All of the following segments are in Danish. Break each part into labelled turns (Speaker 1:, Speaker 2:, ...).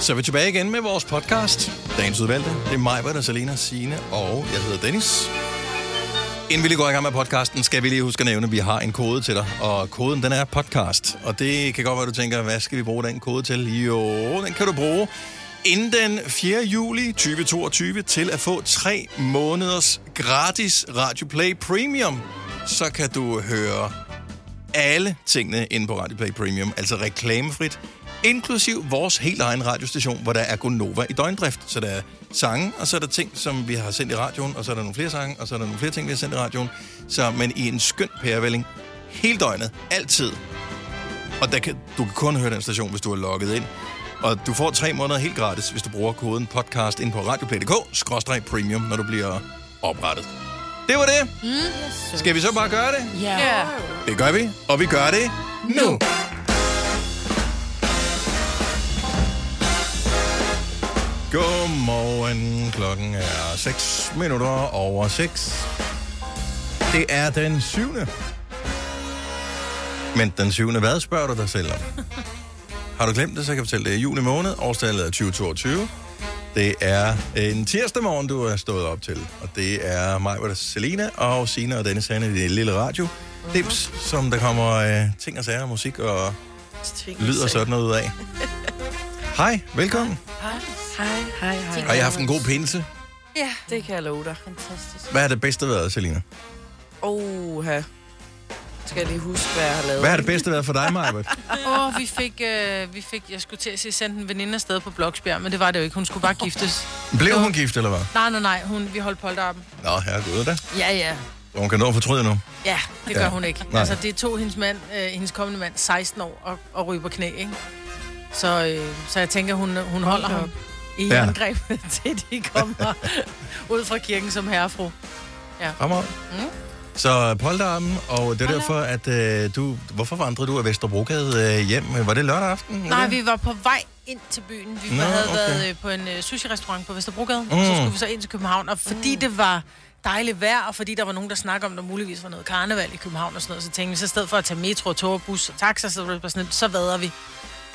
Speaker 1: Så er vi tilbage igen med vores podcast. Dagens udvalgte. Det er mig, Britta, Salina, Signe og jeg hedder Dennis. Inden vi lige går i gang med podcasten, skal vi lige huske at nævne, at vi har en kode til dig. Og koden, den er podcast. Og det kan godt være, at du tænker, hvad skal vi bruge den kode til? Jo, den kan du bruge inden den 4. juli 2022 til at få 3 måneders gratis Radio Play Premium. Så kan du høre alle tingene inde på Radio Play Premium, altså reklamefrit, inklusiv vores helt egen radiostation, hvor der er Gonova i døgndrift. Så der er sange, og så er der ting, som vi har sendt i radioen, og så er der nogle flere sange, og så er der nogle flere ting, vi har sendt i radioen. Så, men i en skøn pærevælling, hele døgnet, altid. Og der kan, du kan kun høre den station, hvis du er logget ind. Og du får tre måneder helt gratis, hvis du bruger koden podcast ind på radioplay.dk-premium, når du bliver oprettet. Det var det. Mm. Skal vi så bare gøre det?
Speaker 2: Ja.
Speaker 1: Det gør vi, og vi gør det nu. Godmorgen. Klokken er 6 minutter over 6. Det er den 7. Men den 7. hvad spørger du dig selv om? Har du glemt det, så kan jeg fortælle det. er Juni måned, årstallet er 2022. Det er en tirsdag morgen, du er stået op til. Og det er mig, hvor der er Selina og Sina og Dennis Hanne i det lille radio. Dips, som der kommer øh, ting og sager, musik og lyd og sådan noget ud af. Hej, velkommen.
Speaker 3: Hej, hej, hej.
Speaker 1: Har I haft en god pinse?
Speaker 3: Ja. Det kan jeg love dig. Fantastisk.
Speaker 1: Hvad har det bedste været, Selina?
Speaker 3: Oha. Skal jeg lige huske, hvad jeg har lavet.
Speaker 1: Hvad har det bedste været for dig, Maja?
Speaker 4: Åh, oh, vi, fik, øh, vi fik, jeg skulle til at sige, sende en veninde afsted på Bloksbjerg, men det var det jo ikke. Hun skulle bare giftes.
Speaker 1: Blev hun gift, eller hvad?
Speaker 4: Nej, nej, nej, hun, vi holdt polterappen.
Speaker 1: Nå, herregud da.
Speaker 4: Ja, ja.
Speaker 1: Så Hun kan nå at fortryde nu.
Speaker 4: Ja, det
Speaker 1: Ja.
Speaker 4: gør hun ikke.
Speaker 1: Nej.
Speaker 4: Nej. Altså, det tog hendes mand, øh, hendes kommende mand, 16 år og, og ryge på knæ, ikke? Så, øh, så jeg tænker, hun, hun holder ham i
Speaker 1: Ja.
Speaker 4: ja. angreb, til de kommer ud fra kirken som herrefru.
Speaker 1: Fremad. Mm. Så polterarmen, og det er derfor, at øh, du... Hvorfor vandrede du af Vesterbrogade øh, hjem? Var det lørdag aften?
Speaker 4: Nej, vi var på vej ind til byen. Vi
Speaker 1: Mm-hmm. Nå,
Speaker 4: Nå, havde
Speaker 1: okay.
Speaker 4: okay. været øh, på en øh, sushi-restaurant på Vesterbrogade, mm.
Speaker 1: Mm.
Speaker 4: og så skulle vi så ind til København. Og fordi mm. det var dejligt vejr, og fordi der var nogen, der snakkede om, der muligvis var noget karneval i København og sådan noget, så tænkte vi, så i stedet for at tage metro, tog, og bus og taxa, så, var det bare sådan, lidt, så vader vi.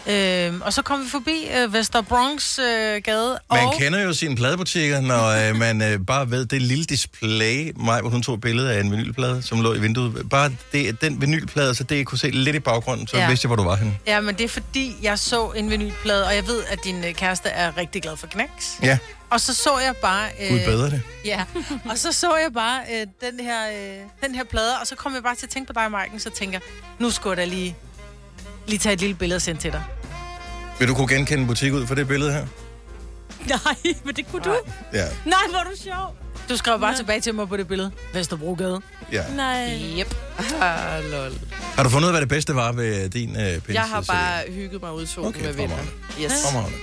Speaker 4: Øhm, og så kom vi forbi øh, Vester Bronx øh, gade,
Speaker 1: Man
Speaker 4: og...
Speaker 1: kender jo sine pladebutikker, når øh, man øh, bare ved det lille display, mig, hvor hun tog et billede af en vinylplade, som lå i vinduet. Bare det, at den vinylplade, så det jeg kunne se lidt i baggrunden, så ja.
Speaker 4: Ja.
Speaker 1: vidste jeg, hvor du var henne.
Speaker 4: Ja, men det er fordi, jeg så en vinylplade, og jeg ved, at din øh, kæreste er rigtig glad for knæks.
Speaker 1: Ja,
Speaker 4: Og så så jeg bare... Øh,
Speaker 1: Gud bedre det.
Speaker 4: Ja, og så så jeg bare øh, den, her, øh, den her plade, og så kom jeg bare til at tænke på dig, Marken, så tænker jeg, nu skulle jeg da lige, lige tage et lille billede og sende til dig.
Speaker 1: Vil du kunne genkende en butik ud for det billede her?
Speaker 5: Nej, men det kunne du.
Speaker 1: Ja,
Speaker 5: Nej, hvor er du sjov.
Speaker 4: Du skrev bare tilbage til mig på det billede. Vesterbrogade.
Speaker 1: ja.
Speaker 5: Nej.
Speaker 3: Yep. Ah, lol.
Speaker 1: Har du fundet ud af, hvad det bedste var ved din øh, pinse?
Speaker 3: Jeg har bare hygget mig ud i solen
Speaker 1: Okay,
Speaker 3: med venner. Yes.
Speaker 1: Omhavne.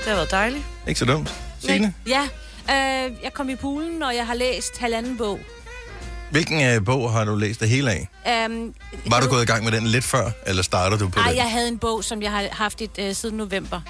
Speaker 3: Det har været dejligt.
Speaker 1: Ikke så dumt. Signe,
Speaker 5: Ja, øh, jeg kom i poolen, og jeg har læst halvanden bog.
Speaker 1: hvilken øh, bog har du læst det hele af?
Speaker 5: Um,
Speaker 1: Var du gået i gang med den lidt før, eller starter du på
Speaker 5: Nej,
Speaker 1: den?
Speaker 5: jeg havde en bog, som jeg har haft et, øh, siden november.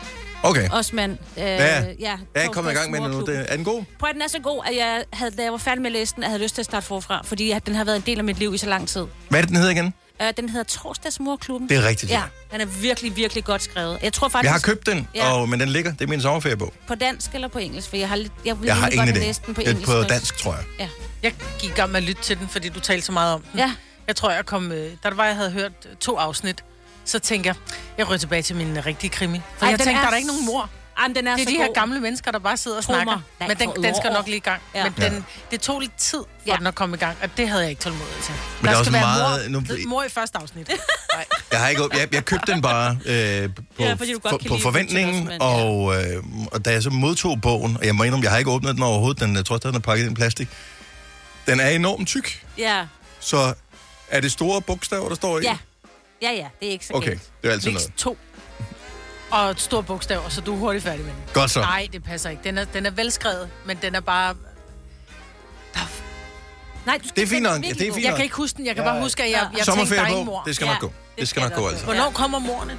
Speaker 1: Okay,
Speaker 5: Osman. Øh,
Speaker 1: Ja.
Speaker 5: ja
Speaker 1: jeg er ikke kommet i gang med den nu.
Speaker 5: Torsdagsmorklubben.
Speaker 1: Det- Er den god?
Speaker 5: Prøv at den er så god, at jeg, havde, da jeg var færdig med at læse den, jeg havde lyst til at starte forfra, fordi at den har været en del af mit liv i så lang tid.
Speaker 1: Hvad er det, den hedder igen?
Speaker 5: Øh, den hedder Torsdagsmorklubben.
Speaker 1: Det er rigtigt.
Speaker 5: Ja, den er virkelig, virkelig godt skrevet. Jeg tror
Speaker 1: Jeg
Speaker 5: faktisk
Speaker 1: har købt den,
Speaker 5: Ja.
Speaker 1: og, men den ligger. Det er min sommerferiebog.
Speaker 5: på dansk eller på engelsk, for jeg har, lidt, jeg ville
Speaker 1: Jeg har
Speaker 5: egentlig godt
Speaker 1: ingen
Speaker 5: have
Speaker 1: idé.
Speaker 5: læst den på
Speaker 1: Lidt
Speaker 5: engelsk.
Speaker 1: på
Speaker 5: først.
Speaker 1: dansk, tror jeg.
Speaker 5: Ja.
Speaker 4: Jeg gik i gang med at lytte til den, fordi du talte så meget om den.
Speaker 5: ja.
Speaker 4: Jeg tror, jeg kom... Øh, da det var, jeg havde hørt to afsnit, så tænker jeg, jeg ryger tilbage til min øh, rigtige krimi. For
Speaker 5: Ej,
Speaker 4: Ej, jeg
Speaker 5: den
Speaker 4: tænkte,
Speaker 5: er
Speaker 4: der er da ikke nogen mor.
Speaker 5: Jamen, den er
Speaker 4: Det er
Speaker 5: så
Speaker 4: de her
Speaker 5: god.
Speaker 4: gamle mennesker, der bare sidder og
Speaker 5: Tro
Speaker 4: snakker.
Speaker 5: mig, der er
Speaker 4: Men
Speaker 5: ikke
Speaker 4: den,
Speaker 5: for
Speaker 4: den skal
Speaker 5: lov.
Speaker 4: nok lige i gang.
Speaker 5: Ja.
Speaker 4: Ja. Men den, det tog lidt tid, for
Speaker 5: Ja.
Speaker 4: ja. den at komme i gang, og det havde jeg ikke tålmodighed til. Men
Speaker 1: der er
Speaker 4: der
Speaker 1: også
Speaker 4: skal være
Speaker 1: meget-
Speaker 4: mor,
Speaker 1: nu-
Speaker 4: mor i første afsnit.
Speaker 1: Jeg, har ikke, jeg, jeg købte den bare øh, på,
Speaker 5: Ja, fordi du godt
Speaker 1: på,
Speaker 5: kan
Speaker 1: på
Speaker 5: lide
Speaker 1: forventningen,
Speaker 5: Richard
Speaker 1: og, øh, og da jeg så modtog bogen, og jeg må indrømme, jeg har ikke åbnet den overhovedet, den, jeg tror stadig, den er pakket ind i plastik. Den er enormt tyk,
Speaker 5: Ja,
Speaker 1: så er det store bogstaver, der står i?
Speaker 5: ja. Ja, ja, det er ikke så
Speaker 1: Okay,
Speaker 5: galt.
Speaker 1: det er altid
Speaker 4: Mix
Speaker 1: noget.
Speaker 4: 2. Og et stort bogstav, så du er hurtigt færdig med den.
Speaker 1: Godt så.
Speaker 4: Nej, det passer ikke. Den er, den er velskrevet, men den er bare...
Speaker 5: Nej, du skal
Speaker 1: Det er fint
Speaker 5: den
Speaker 1: nok, ja,
Speaker 5: virkelig
Speaker 1: det er
Speaker 5: god.
Speaker 1: fint
Speaker 4: Jeg
Speaker 1: nok.
Speaker 4: kan ikke huske den. Jeg kan bare huske, at jeg, jeg tænkte, der er ingen mor.
Speaker 1: Sommerferiebog, det skal nok
Speaker 5: Ja,
Speaker 1: gå. Det skal nok gå, altså.
Speaker 4: Hvornår kommer morerne?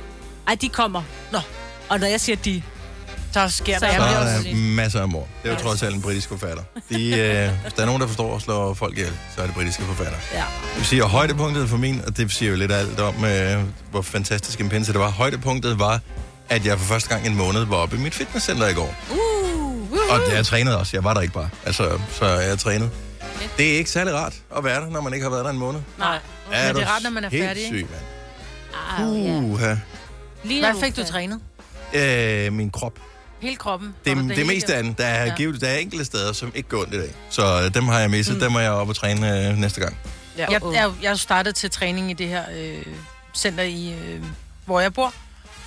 Speaker 5: Ej, de kommer.
Speaker 4: Nå,
Speaker 5: Og når jeg siger de,
Speaker 4: så sker
Speaker 5: Så
Speaker 4: der.
Speaker 1: Så
Speaker 5: det
Speaker 1: er
Speaker 5: er
Speaker 4: Jeg
Speaker 5: også
Speaker 1: der
Speaker 5: lidt-
Speaker 1: masser af mor. Det er jo trods alt en britisk forfatter. De, øh, hvis der er nogen, der forstår at slå folk ihjel, så er det britiske forfatter.
Speaker 5: ja.
Speaker 1: Det vil sige, at højdepunktet for min, og det siger jo lidt af alt om, øh, hvor fantastisk en pinse det var. Højdepunktet var, at jeg for første gang en måned var oppe i mit fitnesscenter i går.
Speaker 5: Uh,
Speaker 1: Og
Speaker 5: uh,
Speaker 1: jeg trænede også. Jeg var der ikke bare. Altså, så jeg trænede. Det er ikke særlig rart at være der, når man ikke har været der en måned.
Speaker 5: Nej.
Speaker 4: Men
Speaker 1: du
Speaker 4: det er rart, når man er
Speaker 1: helt
Speaker 4: færdig, ikke?
Speaker 1: Syg, mand.
Speaker 5: Ah, ja.
Speaker 1: Uha.
Speaker 5: Lige
Speaker 4: Hvad fik du trænet?
Speaker 1: Øh, min krop.
Speaker 4: Hele kroppen?
Speaker 1: Det,
Speaker 4: Var
Speaker 1: det, det
Speaker 4: hele?
Speaker 1: meste af den. Der er,
Speaker 4: Ja.
Speaker 1: ja. givet, der er enkelte steder, som ikke går ondt i dag. Så øh, dem har jeg misset. Mm. Dem må jeg op og træne øh, næste gang.
Speaker 3: Ja,
Speaker 4: Jeg,
Speaker 3: uh.
Speaker 4: jeg, jeg startede til træning i det her øh, center, i, øh, hvor jeg bor,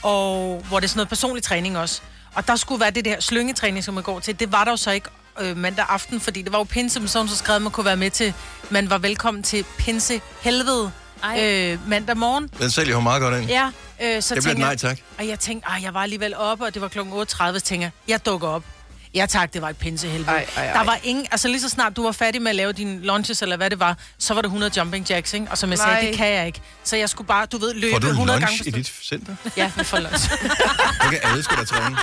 Speaker 4: og hvor det er sådan noget personlig træning også. Og der skulle være det der slyngetræning, som man går til. Det var der jo så ikke øh, mandag aften, fordi det var jo pinse, men så havde hun så skrev, at man kunne være med til, man var velkommen til pinse helvede
Speaker 5: Ej.
Speaker 4: øh, mandag morgen.
Speaker 1: Den sælger jo meget godt ind. Ja,
Speaker 4: Ja, øh, så
Speaker 1: det bliver et
Speaker 4: tænker
Speaker 1: nej
Speaker 4: jeg,
Speaker 1: tak.
Speaker 4: og jeg tænkte, ej, jeg var alligevel oppe, og det var kl. 8.30, så tænker jeg, jeg dukker op. Ja tak, det var et pinsehelvede.
Speaker 3: Ej, ej, ej.
Speaker 4: Der var ingen, altså lige så snart du var færdig med at lave dine lunches, eller hvad det var, så var det 100 jumping jacks, ikke? Og som jeg Nej.
Speaker 3: Nej.
Speaker 4: sagde, det kan jeg ikke. Så jeg skulle bare, du ved, løbe
Speaker 1: Får du
Speaker 4: 100 gange.
Speaker 1: lunch
Speaker 4: på
Speaker 1: i
Speaker 4: stå-
Speaker 1: dit center?
Speaker 4: Ja, vi får lunch.
Speaker 1: Okay, alle skal da træne.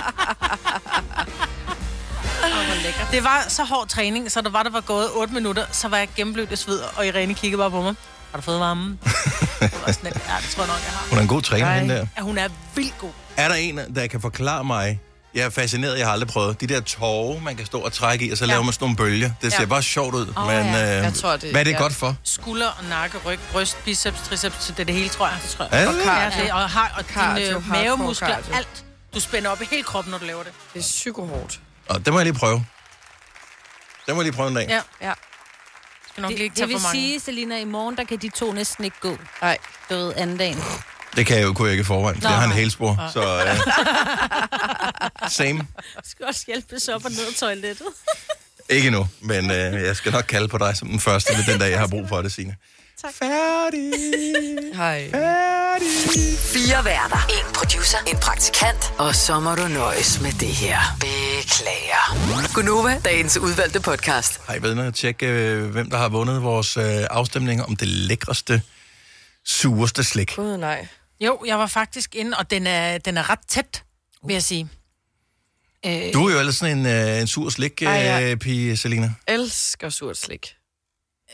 Speaker 4: det var så hård træning, så der var, der var gået 8 minutter, så var jeg gennemblødt af sved, og Irene kiggede bare på mig. Har du fået varmen? Det var sådan, lidt, ja, det tror jeg nok, jeg har.
Speaker 1: Hun er en god træner,
Speaker 3: Ej.
Speaker 1: hende der.
Speaker 4: Ja, hun er vildt god.
Speaker 1: Er der en, der kan forklare mig, jeg er fascineret, jeg har aldrig prøvet, de der tårer, man kan stå og trække i, og så ja. laver man sådan nogle bølger. Det ser
Speaker 4: Ja.
Speaker 1: ja. bare sjovt ud,
Speaker 5: Åh,
Speaker 1: oh, men
Speaker 5: ja.
Speaker 1: øh,
Speaker 3: Jeg tror, det-
Speaker 1: hvad er det
Speaker 3: ja.
Speaker 1: godt for?
Speaker 4: Skulder, og nakke, ryg, bryst, biceps, triceps, det er det hele, tror jeg. Det tror jeg.
Speaker 1: Er det?
Speaker 3: kar-
Speaker 4: Ja, det, og, har, og
Speaker 3: Cardio,
Speaker 4: dine øh,
Speaker 3: hardcore
Speaker 4: mavemuskler,
Speaker 3: cardio.
Speaker 4: alt. Du spænder op i hele kroppen, når du laver det.
Speaker 3: Det er psykohårdt.
Speaker 1: Og det må jeg lige prøve. Det må jeg lige prøve en dag.
Speaker 4: Ja.
Speaker 3: Ja.
Speaker 4: Du skal nok
Speaker 5: Det,
Speaker 4: ikke
Speaker 5: det
Speaker 4: tage
Speaker 5: vil
Speaker 4: for mange.
Speaker 5: sige, Selina, i morgen, der kan de to næsten ikke gå.
Speaker 3: Nej.
Speaker 5: Du ved, anden dagen.
Speaker 1: Det kan jeg jo, kunne jeg ikke i forvejen,
Speaker 5: Nå,
Speaker 1: for jeg har en
Speaker 5: nej.
Speaker 1: hælspor. Så, øh, same.
Speaker 5: Du skal også hjælpes op og ned af toilettet.
Speaker 1: Ikke nu, men øh, jeg skal nok kalde på dig som den første ved den dag, jeg har brug for det, Signe. Tak. Færdig,
Speaker 3: Hej.
Speaker 1: færdig.
Speaker 2: Fire værter. En producer. En praktikant. Og så må du nøjes med det her. Beklager. Gunova, dagens udvalgte podcast.
Speaker 1: Har I været inde og tjekke, øh, hvem der har vundet vores øh, afstemning om det lækreste, sureste slik?
Speaker 3: Gud, nej.
Speaker 4: Jo, jeg var faktisk inde, og den er, den er ret tæt, vil jeg sige.
Speaker 1: Du er jo ellers sådan en, øh, en sur slik, øh,
Speaker 3: Ej, ja.
Speaker 1: pige, Selina.
Speaker 3: Elsker surt slik.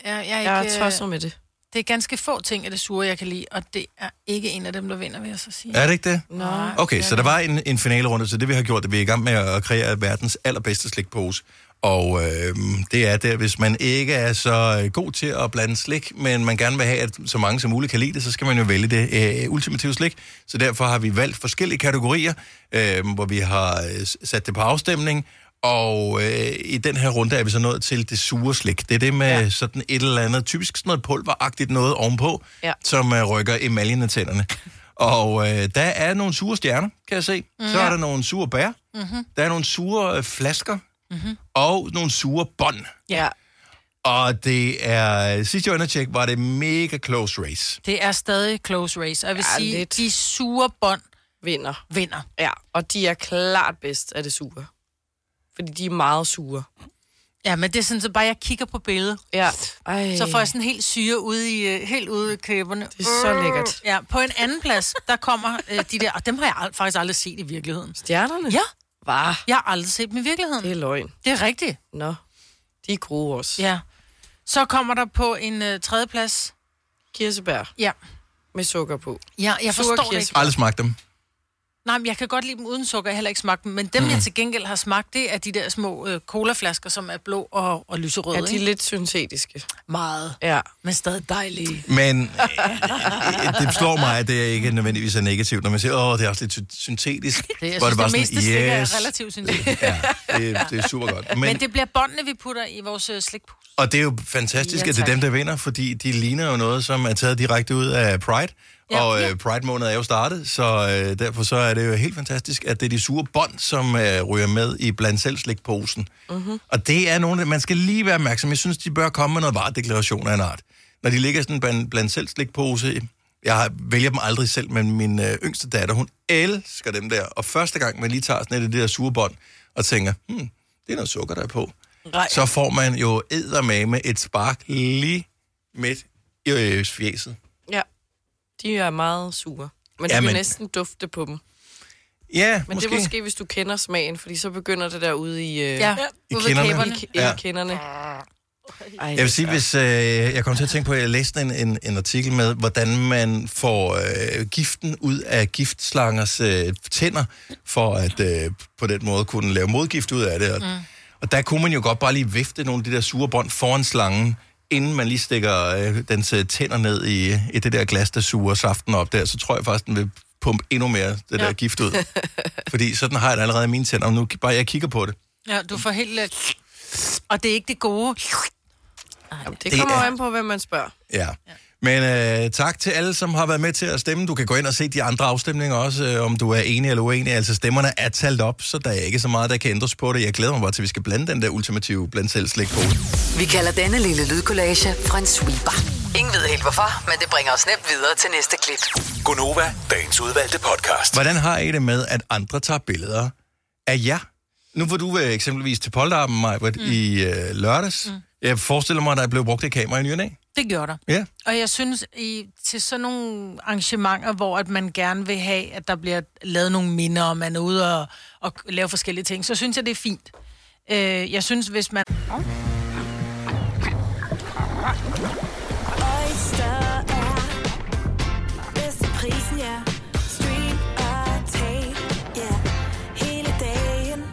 Speaker 4: Ja, jeg,
Speaker 3: Jeg er
Speaker 4: ikke, øh,
Speaker 3: tosset med det.
Speaker 4: det er ganske få ting af det sure, jeg kan lide, og det er ikke en af dem, der vinder, vil jeg så sige.
Speaker 1: Er det ikke det?
Speaker 3: Nå.
Speaker 1: Okay, så der var en, en finalerunde, så det vi har gjort, det vi er i gang med at kreere verdens allerbedste slikpose. Og øh, det er der, hvis man ikke er så øh, god til at blande slik, men man gerne vil have, at så mange som muligt kan lide det, så skal man jo vælge det øh, ultimative slik. Så derfor har vi valgt forskellige kategorier, øh, hvor vi har øh, s- sat det på afstemning. Og øh, i den her runde er vi så nået til det sure slik. Det er det med ja. sådan et eller andet, typisk sådan noget pulveragtigt noget ovenpå,
Speaker 3: Ja.
Speaker 1: som øh, rykker emaljen af tænderne. Og øh, der er nogle sure stjerner, kan jeg se. Mm, så er der nogle sure bær. Mm-hmm. Der er nogle sure øh, flasker. Mm-hmm. Og nogle sure bånd.
Speaker 3: Ja.
Speaker 1: Og det er, sidst jeg undertjek, var det mega close race.
Speaker 4: Det er stadig close race, og jeg vil
Speaker 3: Ja,
Speaker 4: ja, sige,
Speaker 3: lidt.
Speaker 4: lidt. de sure bånd
Speaker 3: Vinder.
Speaker 4: vinder.
Speaker 3: Ja, og de er klart bedst af det sure. Fordi de er meget sure.
Speaker 4: Ja, men det er sådan, så bare jeg kigger på billedet,
Speaker 3: Ja. Ej.
Speaker 4: så får jeg sådan helt syre ude i, øh, helt ude i kæberne.
Speaker 3: Øh.
Speaker 4: Øh.
Speaker 3: Det er så lækkert.
Speaker 4: Ja, på en anden plads, der kommer øh, de der, og dem har jeg al- faktisk aldrig set i virkeligheden.
Speaker 3: Stjernerne?
Speaker 4: Ja,
Speaker 3: Var.
Speaker 4: jeg har aldrig set dem i virkeligheden.
Speaker 3: Det er løgn.
Speaker 4: Det er rigtigt,
Speaker 3: Nå. De er gode også.
Speaker 4: ja. Så kommer der på en øh, tredje plads.
Speaker 3: Kirsebær
Speaker 4: Ja.
Speaker 3: med sukker på.
Speaker 4: ja, jeg
Speaker 3: Sure
Speaker 4: forstår det
Speaker 3: kirsebær.
Speaker 4: ikke.
Speaker 1: Aldrig smagt dem.
Speaker 4: Nej, men jeg kan godt lide dem uden sukker, jeg har heller ikke smagt dem. Men dem, mm. jeg til gengæld har smagt, det er de der små øh, colaflasker, som er blå og, og lyserøde.
Speaker 3: Ja, de er
Speaker 4: ikke?
Speaker 3: lidt syntetiske.
Speaker 4: meget,
Speaker 3: Ja.
Speaker 4: men stadig dejlige.
Speaker 1: Men øh, øh, det slår mig, at det ikke nødvendigvis er negativt, når man siger, åh, det er også lidt sy- syntetisk.
Speaker 4: Det, jeg
Speaker 1: Hvor
Speaker 4: synes, det, det
Speaker 1: bare
Speaker 4: meste yes. slik er relativt syntetisk.
Speaker 1: Ja, det, det er super godt. Men,
Speaker 4: Men det bliver båndene, vi putter i vores øh, slikpose.
Speaker 1: Og det er jo fantastisk,
Speaker 3: Ja,
Speaker 1: ja, at det er
Speaker 3: tak.
Speaker 1: dem, der vinder, fordi de ligner jo noget, som er taget direkte ud af Pride. Ja,
Speaker 4: Ja,
Speaker 1: og
Speaker 4: ja.
Speaker 1: øh, Pride-måned er jo startet, så øh, derfor så er det jo helt fantastisk, at det er de sure bånd, som øh, ryger med i blandt selv slikposen. Mm-hmm. Og det er nogle, man skal lige være opmærksom. Jeg synes, de bør komme med noget varedeklaration af en art. Når de ligger i sådan en blandt, blandt selv slikpose, jeg har- vælger dem aldrig selv, men min øh, yngste datter, hun elsker dem der. Og første gang, man lige tager sådan et af de der sure bånd, og tænker, hmm, det er noget sukker, der er på
Speaker 4: Nej.
Speaker 1: så får man jo eddermame et spark lige midt i øh, fjeset.
Speaker 3: Ja. De er meget sure. Men ja,
Speaker 1: Ja,
Speaker 3: du kan
Speaker 1: men-
Speaker 3: næsten dufte på dem.
Speaker 1: Ja,
Speaker 3: Men
Speaker 1: måske.
Speaker 3: det er måske, hvis du kender smagen, fordi så begynder det der ude i... Øh,
Speaker 4: Ja,
Speaker 1: I
Speaker 4: ude ved
Speaker 1: kinderne.
Speaker 4: kæberne.
Speaker 3: I, i
Speaker 1: Ja.
Speaker 3: ja. kenderne.
Speaker 1: Jeg vil sige, hvis øh, jeg kommer til at tænke på, at jeg læste en, en, en artikel med, hvordan man får øh, giften ud af giftslangers øh, tænder, for at øh, på den måde kunne lave modgift ud af det. Og, mm. og der kunne man jo godt bare lige vifte nogle af de der sure bånd foran slangen, inden man lige stikker øh, dens øh, tænder ned i, i det der glas, der suger saften op der, så tror jeg faktisk, den vil pumpe endnu mere det ja. der gift ud.
Speaker 4: Mm.
Speaker 1: Fordi sådan har jeg det allerede i mine tænder, og nu bare jeg kigger på det.
Speaker 4: Ja, du får helt... øh, Og det er ikke det gode.
Speaker 3: Jamen, det
Speaker 1: Det
Speaker 3: kommer
Speaker 1: er-
Speaker 3: jo an på, hvem man spørger.
Speaker 1: Ja. Men øh, tak til alle, som har været med til at stemme. Du kan gå ind og se de andre afstemninger også, øh, om du er enig eller uenig. Altså stemmerne er talt op, så der er ikke så meget, der kan ændres på det. Jeg glæder mig bare til, at vi skal blande den der ultimative blandt selv slik på.
Speaker 2: Vi kalder denne lille lydkollage Frans sweeper. Ingen ved helt hvorfor, men det bringer os nemt videre til næste klip.
Speaker 6: Gunova, dagens udvalgte podcast.
Speaker 1: Hvordan har I det med, at andre tager billeder af jer? Nu var du øh, eksempelvis til Polterappen, Maja, mm. i øh, lørdags. Mm. Jeg forestiller mig, at der blev brugt et kamera i ny og næ.
Speaker 4: Det gjorde der.
Speaker 1: Ja.
Speaker 4: Og jeg synes, i, til sådan nogle arrangementer, hvor at man gerne vil have, at der bliver lavet nogle minder, og man er ude og, og lave forskellige ting, så synes jeg, det er fint. Øh, jeg synes, hvis man...
Speaker 7: Oyster er bedst til prisen, ja. Stream og tag, ja. Hele dagen.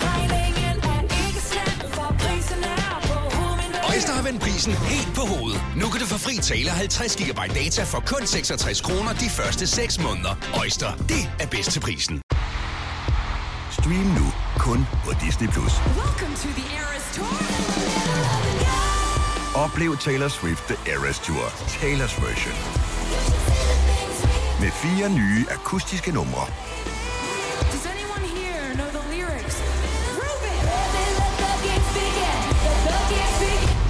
Speaker 7: Regningen er ikke slem, for prisen er på hovedet.
Speaker 6: Øjster har vendt prisen helt på hovedet. Nu kan du få fri tale 50 GB data for kun 66 kroner de første 6 måneder. Øjster, det er bedst til prisen.
Speaker 8: Stream nu kun på Disney+. Plus. Oplev Taylor Swift The Eras Tour, Taylor's version. Med fire nye akustiske numre.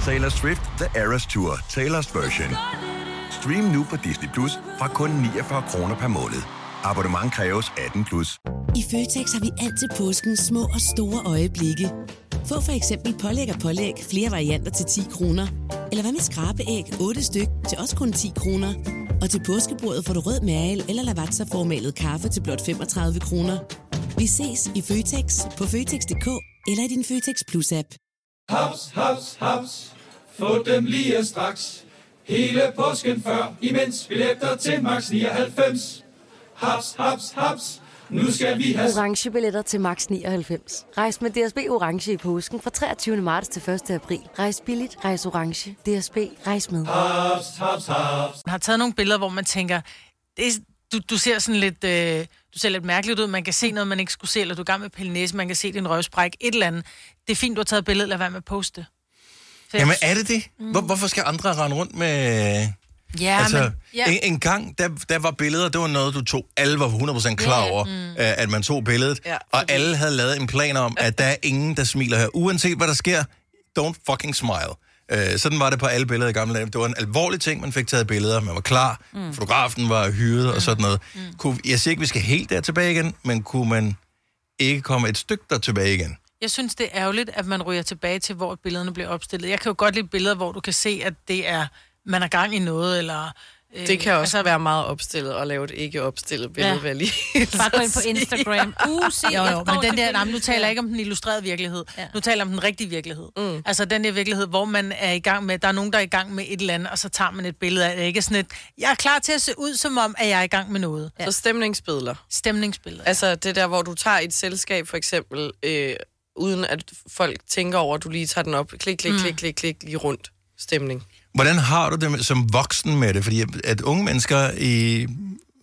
Speaker 8: Taylor Swift The Eras Tour, Taylor's version. Stream nu på Disney Plus fra kun 49 kroner per måned. Abonnement kræves 18 plus.
Speaker 9: I Føtex har vi altid påsken små og store øjeblikke. Få for eksempel pålæg og pålæg flere varianter til 10 kroner. Eller hvad med skrabeæg 8 styk til også kun 10 kroner. Og til påskebordet får du rød mal eller lavatserformalet kaffe til blot 35 kroner. Vi ses i Føtex på Føtex.dk eller i din Føtex Plus-app.
Speaker 10: Haps, haps, haps. Få dem lige straks. Hele påsken før, imens billetter til max 99. Haps, haps, haps. Nu skal vi have...
Speaker 11: orange billetter til max 99. Rejs med DSB orange i påsken fra 23. marts til 1. april. Rejs billigt, rejs orange. DSB rejs med.
Speaker 10: Haps, haps, haps.
Speaker 4: Man har taget nogle billeder, hvor man tænker, det er, du, du ser sådan lidt, øh, du ser lidt mærkeligt ud, man kan se noget, man ikke skulle se, eller du er i gang med at pille næse, man kan se din røvspræk, et eller andet. Det er fint, du har taget billedet, lad være med at poste. det. Så jeg
Speaker 1: Jamen
Speaker 4: synes-
Speaker 1: er det det? Hvor, hvorfor skal andre rende rundt med...
Speaker 4: Ja,
Speaker 1: altså,
Speaker 4: men, ja.
Speaker 1: En, en gang, der, der var billeder, det var noget, du tog, alle var 100% klar over, mm. at man tog billedet, ja,
Speaker 3: Ja,
Speaker 1: og alle havde lavet en plan om, at der er ingen, der smiler her. Uanset hvad der sker, don't fucking smile. Øh, sådan var det på alle billeder i gamle dage. Det var en alvorlig ting, man fik taget billeder, man var klar, mm. fotografen var hyret mm. og sådan noget. Mm. Kunne, jeg siger ikke, vi skal helt der tilbage igen, men kunne man ikke komme et stykke der tilbage igen?
Speaker 4: Jeg synes, det er ærgerligt, at man ryger tilbage til, hvor billederne bliver opstillet. Jeg kan jo godt lide billeder, hvor du kan se, at det er, man er gang i noget, eller... Øh,
Speaker 3: Det kan også altså, være meget opstillet og lave et ikke opstillet billede,
Speaker 5: Ja.
Speaker 3: ja. vil jeg lige
Speaker 5: Bare gå
Speaker 3: så
Speaker 5: ind på
Speaker 3: sige.
Speaker 5: Instagram. Uh, se,
Speaker 4: Jo,
Speaker 5: jeg
Speaker 4: jo,
Speaker 5: går
Speaker 4: men den der,
Speaker 5: til
Speaker 4: nej, men nu taler
Speaker 5: billede.
Speaker 4: jeg ikke om den illustrerede virkelighed.
Speaker 5: Ja.
Speaker 4: Ja. Nu taler jeg om den rigtige virkelighed. Mm. Altså den der virkelighed, hvor man er i gang med, der er nogen, der er i gang med et eller andet, og så tager man et billede af det. Ikke sådan et, jeg er klar til at se ud som om, at jeg er i gang med noget.
Speaker 3: Så stemningsbilleder.
Speaker 4: Stemningsbilleder.
Speaker 3: Altså det der, hvor du tager et selskab, for eksempel, øh, uden at folk tænker over, at du lige tager den op. Klik, klik, mm. klik, klik, klik, lige rundt. Stemning.
Speaker 1: Hvordan har du det med, som voksen med det? Fordi at unge mennesker i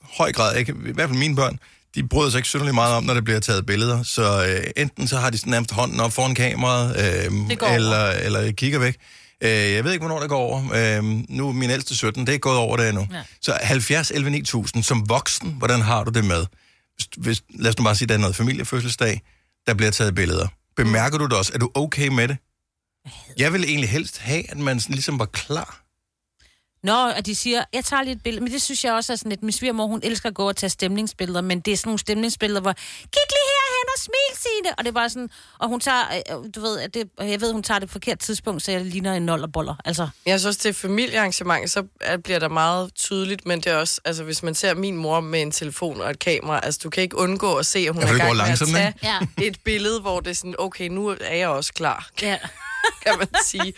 Speaker 1: høj grad, ikke, i hvert fald mine børn, de bryder sig ikke synderligt meget om, når der bliver taget billeder. Så øh, enten så har de sådan nærmest hånden op foran kameraet, øh,
Speaker 4: Det går over.
Speaker 1: eller, eller kigger væk. Øh, jeg ved ikke, hvornår det går over. Øh, nu er min ældste 17, det er gået over det endnu. Ja. Så 70, 11, 9000, som voksen, hvordan har du det med? Hvis, hvis, lad os nu bare sige, der er noget familiefødselsdag, der bliver taget billeder. Bemærker
Speaker 4: Mm.
Speaker 1: du det også? Er du okay med det? Jeg vil egentlig helst have, at man sådan ligesom var klar.
Speaker 5: Nå, og de siger, jeg tager lige et billede. Men det synes jeg også er sådan lidt. Min svigermor, hun elsker at gå og tage stemningsbilleder, men det er sådan nogle stemningsbilleder, hvor, kig lige herhen og smil, Signe! Og det var sådan, og hun tager, øh, øh, du ved, at det, og jeg ved, hun tager det på forkert tidspunkt, så jeg ligner en nold og boller. Altså,
Speaker 3: Jeg synes også, til familiearrangementer, så er- bliver der meget tydeligt, men det er også, altså hvis man ser min mor med en telefon og et kamera, altså du kan ikke undgå at se, at hun
Speaker 1: Ja,
Speaker 3: er
Speaker 1: for
Speaker 3: i
Speaker 1: det går
Speaker 3: gang med
Speaker 1: langsomt,
Speaker 3: at tage et billede, hvor det er sådan, okay, nu er jeg også klar.
Speaker 5: ja.
Speaker 3: kan man sige.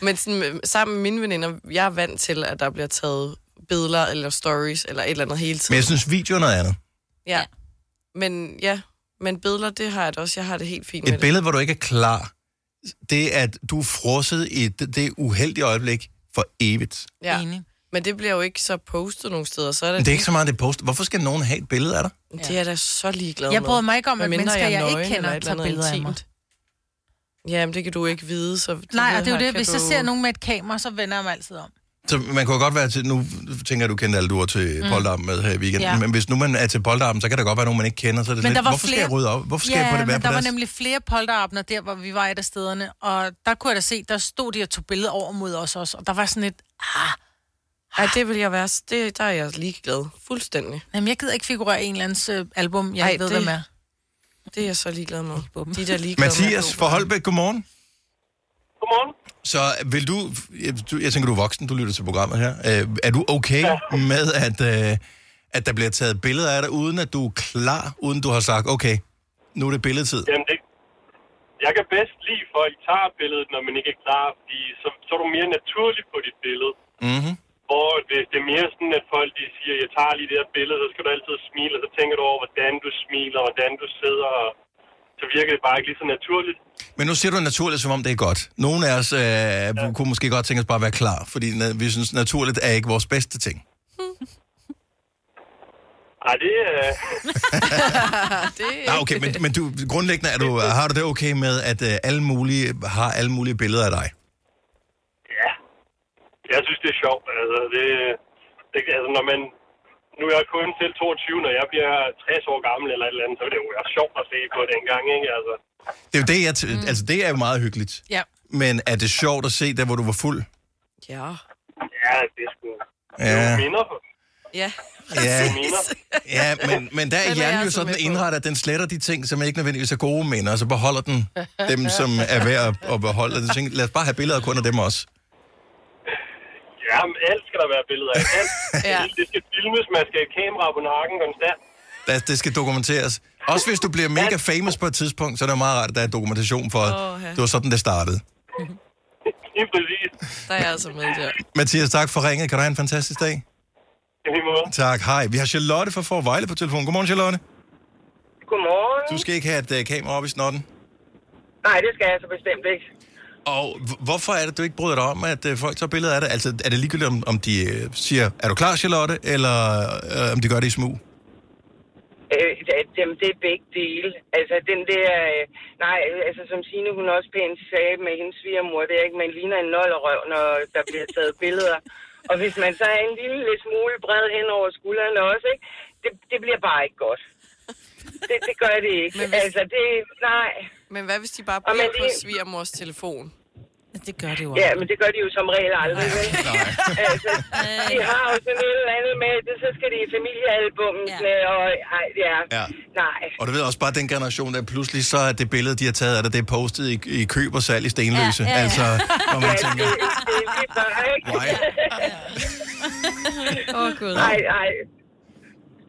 Speaker 3: Men sådan, øh, sammen med mine veninder, jeg er vant til, at der bliver taget billeder eller stories eller et eller andet hele
Speaker 1: Men
Speaker 3: tiden.
Speaker 1: jeg synes, video er noget andet.
Speaker 3: Ja. Men ja, men billeder, det har jeg da også. Jeg har det helt fint med
Speaker 1: Et billede, hvor du ikke er klar, det er, at du er frosset i det, det uheldige øjeblik for evigt.
Speaker 3: det. Ja. Enig. Men det bliver jo ikke så postet nogen steder. Så er
Speaker 1: Men det er ikke så meget, det post. Hvorfor skal nogen have et billede af dig?
Speaker 3: Det er jeg da så ligeglad
Speaker 4: Jeg
Speaker 3: med.
Speaker 4: bryder mig ikke om, at
Speaker 3: Medmindre
Speaker 4: mennesker, jeg
Speaker 3: er
Speaker 4: ikke
Speaker 3: nøgen
Speaker 4: kender,
Speaker 3: eller et eller
Speaker 4: tager
Speaker 3: andet
Speaker 4: billeder af mig.
Speaker 3: intimt. Jamen, det kan du ikke vide, så...
Speaker 4: Nej, og det er jo
Speaker 3: her
Speaker 4: det,
Speaker 3: kan
Speaker 4: hvis jeg
Speaker 3: du-
Speaker 4: ser nogen med et kamera, så vender jeg mig altid om.
Speaker 1: Så man kunne godt være til, nu tænker jeg, du kendte alle du var til
Speaker 4: Mm.
Speaker 1: mm. Polterappen med her i weekenden,
Speaker 4: Ja.
Speaker 1: ja. men hvis nu man er til Polterappen, så kan der godt være nogen, man ikke kender, så er det
Speaker 4: Men
Speaker 1: sådan,
Speaker 4: der
Speaker 1: lidt,
Speaker 4: var
Speaker 1: hvorfor
Speaker 4: flere...
Speaker 1: skal jeg rydde op? Hvorfor skal
Speaker 4: ja,
Speaker 1: jeg på det
Speaker 4: men
Speaker 1: være
Speaker 4: der var
Speaker 1: plads?
Speaker 4: nemlig flere polterabner der, hvor vi var et af stederne. Og der kunne jeg da se, der stod de og tog billeder over mod os også. Og der var sådan et...
Speaker 3: Ej, det vil jeg være... Det, der er jeg ligeglad. Fuldstændig.
Speaker 4: Jamen, jeg gider ikke figurere i en eller andens øh, album, jeg
Speaker 3: Ej,
Speaker 4: Ej, ved,
Speaker 3: det-
Speaker 4: det... hvem er.
Speaker 3: Det er jeg så ligeglad med. De er der ligeglade
Speaker 1: Mathias fra Holbæk, godmorgen.
Speaker 12: Godmorgen.
Speaker 1: Så vil du, jeg- du, jeg tænker, du er voksen, du lytter til programmet her. Øh, er du okay ja. med, at, øh, at der bliver taget billeder af dig, uden at du er klar, uden du har sagt, okay, nu er det billedtid?
Speaker 12: Jamen, det, jeg kan bedst lide, folk tager billedet, når man ikke er klar, fordi så, så er du mere naturlig på dit billede.
Speaker 1: Mm-hmm.
Speaker 12: Hvor hvis det er mere sådan, at folk de siger, jeg tager lige det her billede, så skal du altid smile, og så tænker du over, hvordan du smiler, og hvordan du sidder, og så virker det bare ikke lige så naturligt.
Speaker 1: Men nu siger du naturligt, som om det er godt. Nogle af os øh, ja. kunne måske godt tænke os bare at være klar, fordi na- vi synes, naturligt er ikke vores bedste ting.
Speaker 12: Ej, det er...
Speaker 3: det er
Speaker 1: Nej, Ah, okay, men, men du, grundlæggende er du, har du det okay med, at øh, alle mulige har alle mulige billeder af dig?
Speaker 12: Ja. Jeg synes, det er sjovt. Altså, det, det, altså, når man... Nu er jeg kun selv 22, når jeg bliver 60 år gammel eller et eller andet, så vil det jo være sjovt at se på dengang, ikke? Altså,
Speaker 1: Det er jo det, jeg t- mm. altså, det er jo meget hyggeligt.
Speaker 4: Ja.
Speaker 1: Men er det sjovt at se der, hvor du var fuld?
Speaker 3: Ja.
Speaker 12: Ja, det er sgu...
Speaker 1: Ja.
Speaker 12: Minder på.
Speaker 3: Ja.
Speaker 1: Ja.
Speaker 12: Minder.
Speaker 1: Ja, men, men der er
Speaker 12: Den er jeg
Speaker 1: hjernen jo
Speaker 12: altså
Speaker 1: sådan
Speaker 12: med på.
Speaker 1: indrettet, at den sletter de ting, som ikke nødvendigvis er gode minder, og så beholder den dem, som er værd at, at beholde. Og den tænker, lad os bare have billeder kun af dem også.
Speaker 12: Ja, men alt skal der være billeder af. Alt. ja. Det skal filmes, man skal have et kamera på nakken konstant.
Speaker 1: Lad os, det skal dokumenteres. Også hvis du bliver mega famous på et tidspunkt, så er det jo meget rart, at der er dokumentation for, at
Speaker 3: Åha.
Speaker 1: det var sådan, det startede.
Speaker 12: Lige præcis.
Speaker 3: Der er jeg altså med der.
Speaker 1: Mathias, tak for ringet. Kan du have en fantastisk dag? Tak, hej. Vi har Charlotte fra Forvejle på telefonen. Godmorgen, Charlotte.
Speaker 13: Godmorgen.
Speaker 1: Du skal ikke have et uh, kamera op i snotten.
Speaker 13: Nej, det skal jeg så bestemt ikke.
Speaker 1: Og h- hvorfor er det, du ikke bryder dig om, at uh, folk tager billeder af dig? Altså, er det ligegyldigt, om, om de uh, siger, er du klar, Charlotte, eller uh, om de gør det i smug?
Speaker 13: Øh, at, jamen, det er begge dele. Altså, den der... Øh, nej, altså, som Signe, hun også pænt sagde med hendes svigermor, det er ikke, man ligner en nollerøv, når der bliver taget billeder. Og hvis man så er en lille lidt smule bred hen over skuldrene også, ikke? Det, det bliver bare ikke godt. Det, det gør det ikke. Men altså, det... Nej.
Speaker 3: Men hvad hvis de bare
Speaker 13: Og man
Speaker 3: bliver på
Speaker 13: lige-
Speaker 3: svigermors telefon?
Speaker 5: Det gør det jo
Speaker 13: Ja, men det gør de jo som regel aldrig, vel? altså, de har jo sådan et eller andet med, det, så skal de i familiealbummen, ja. og ej, ja,
Speaker 1: Ja.
Speaker 13: nej.
Speaker 1: Og du ved også bare den generation, der pludselig så er det billede, de har taget af dig, det er postet i, i køb og salg i Stenløse.
Speaker 13: Ja, ja, ja.
Speaker 1: Altså, hvor man tænker,
Speaker 13: det, det er lige før, ikke?
Speaker 1: Why?
Speaker 13: Åh, Gud. Nej, nej.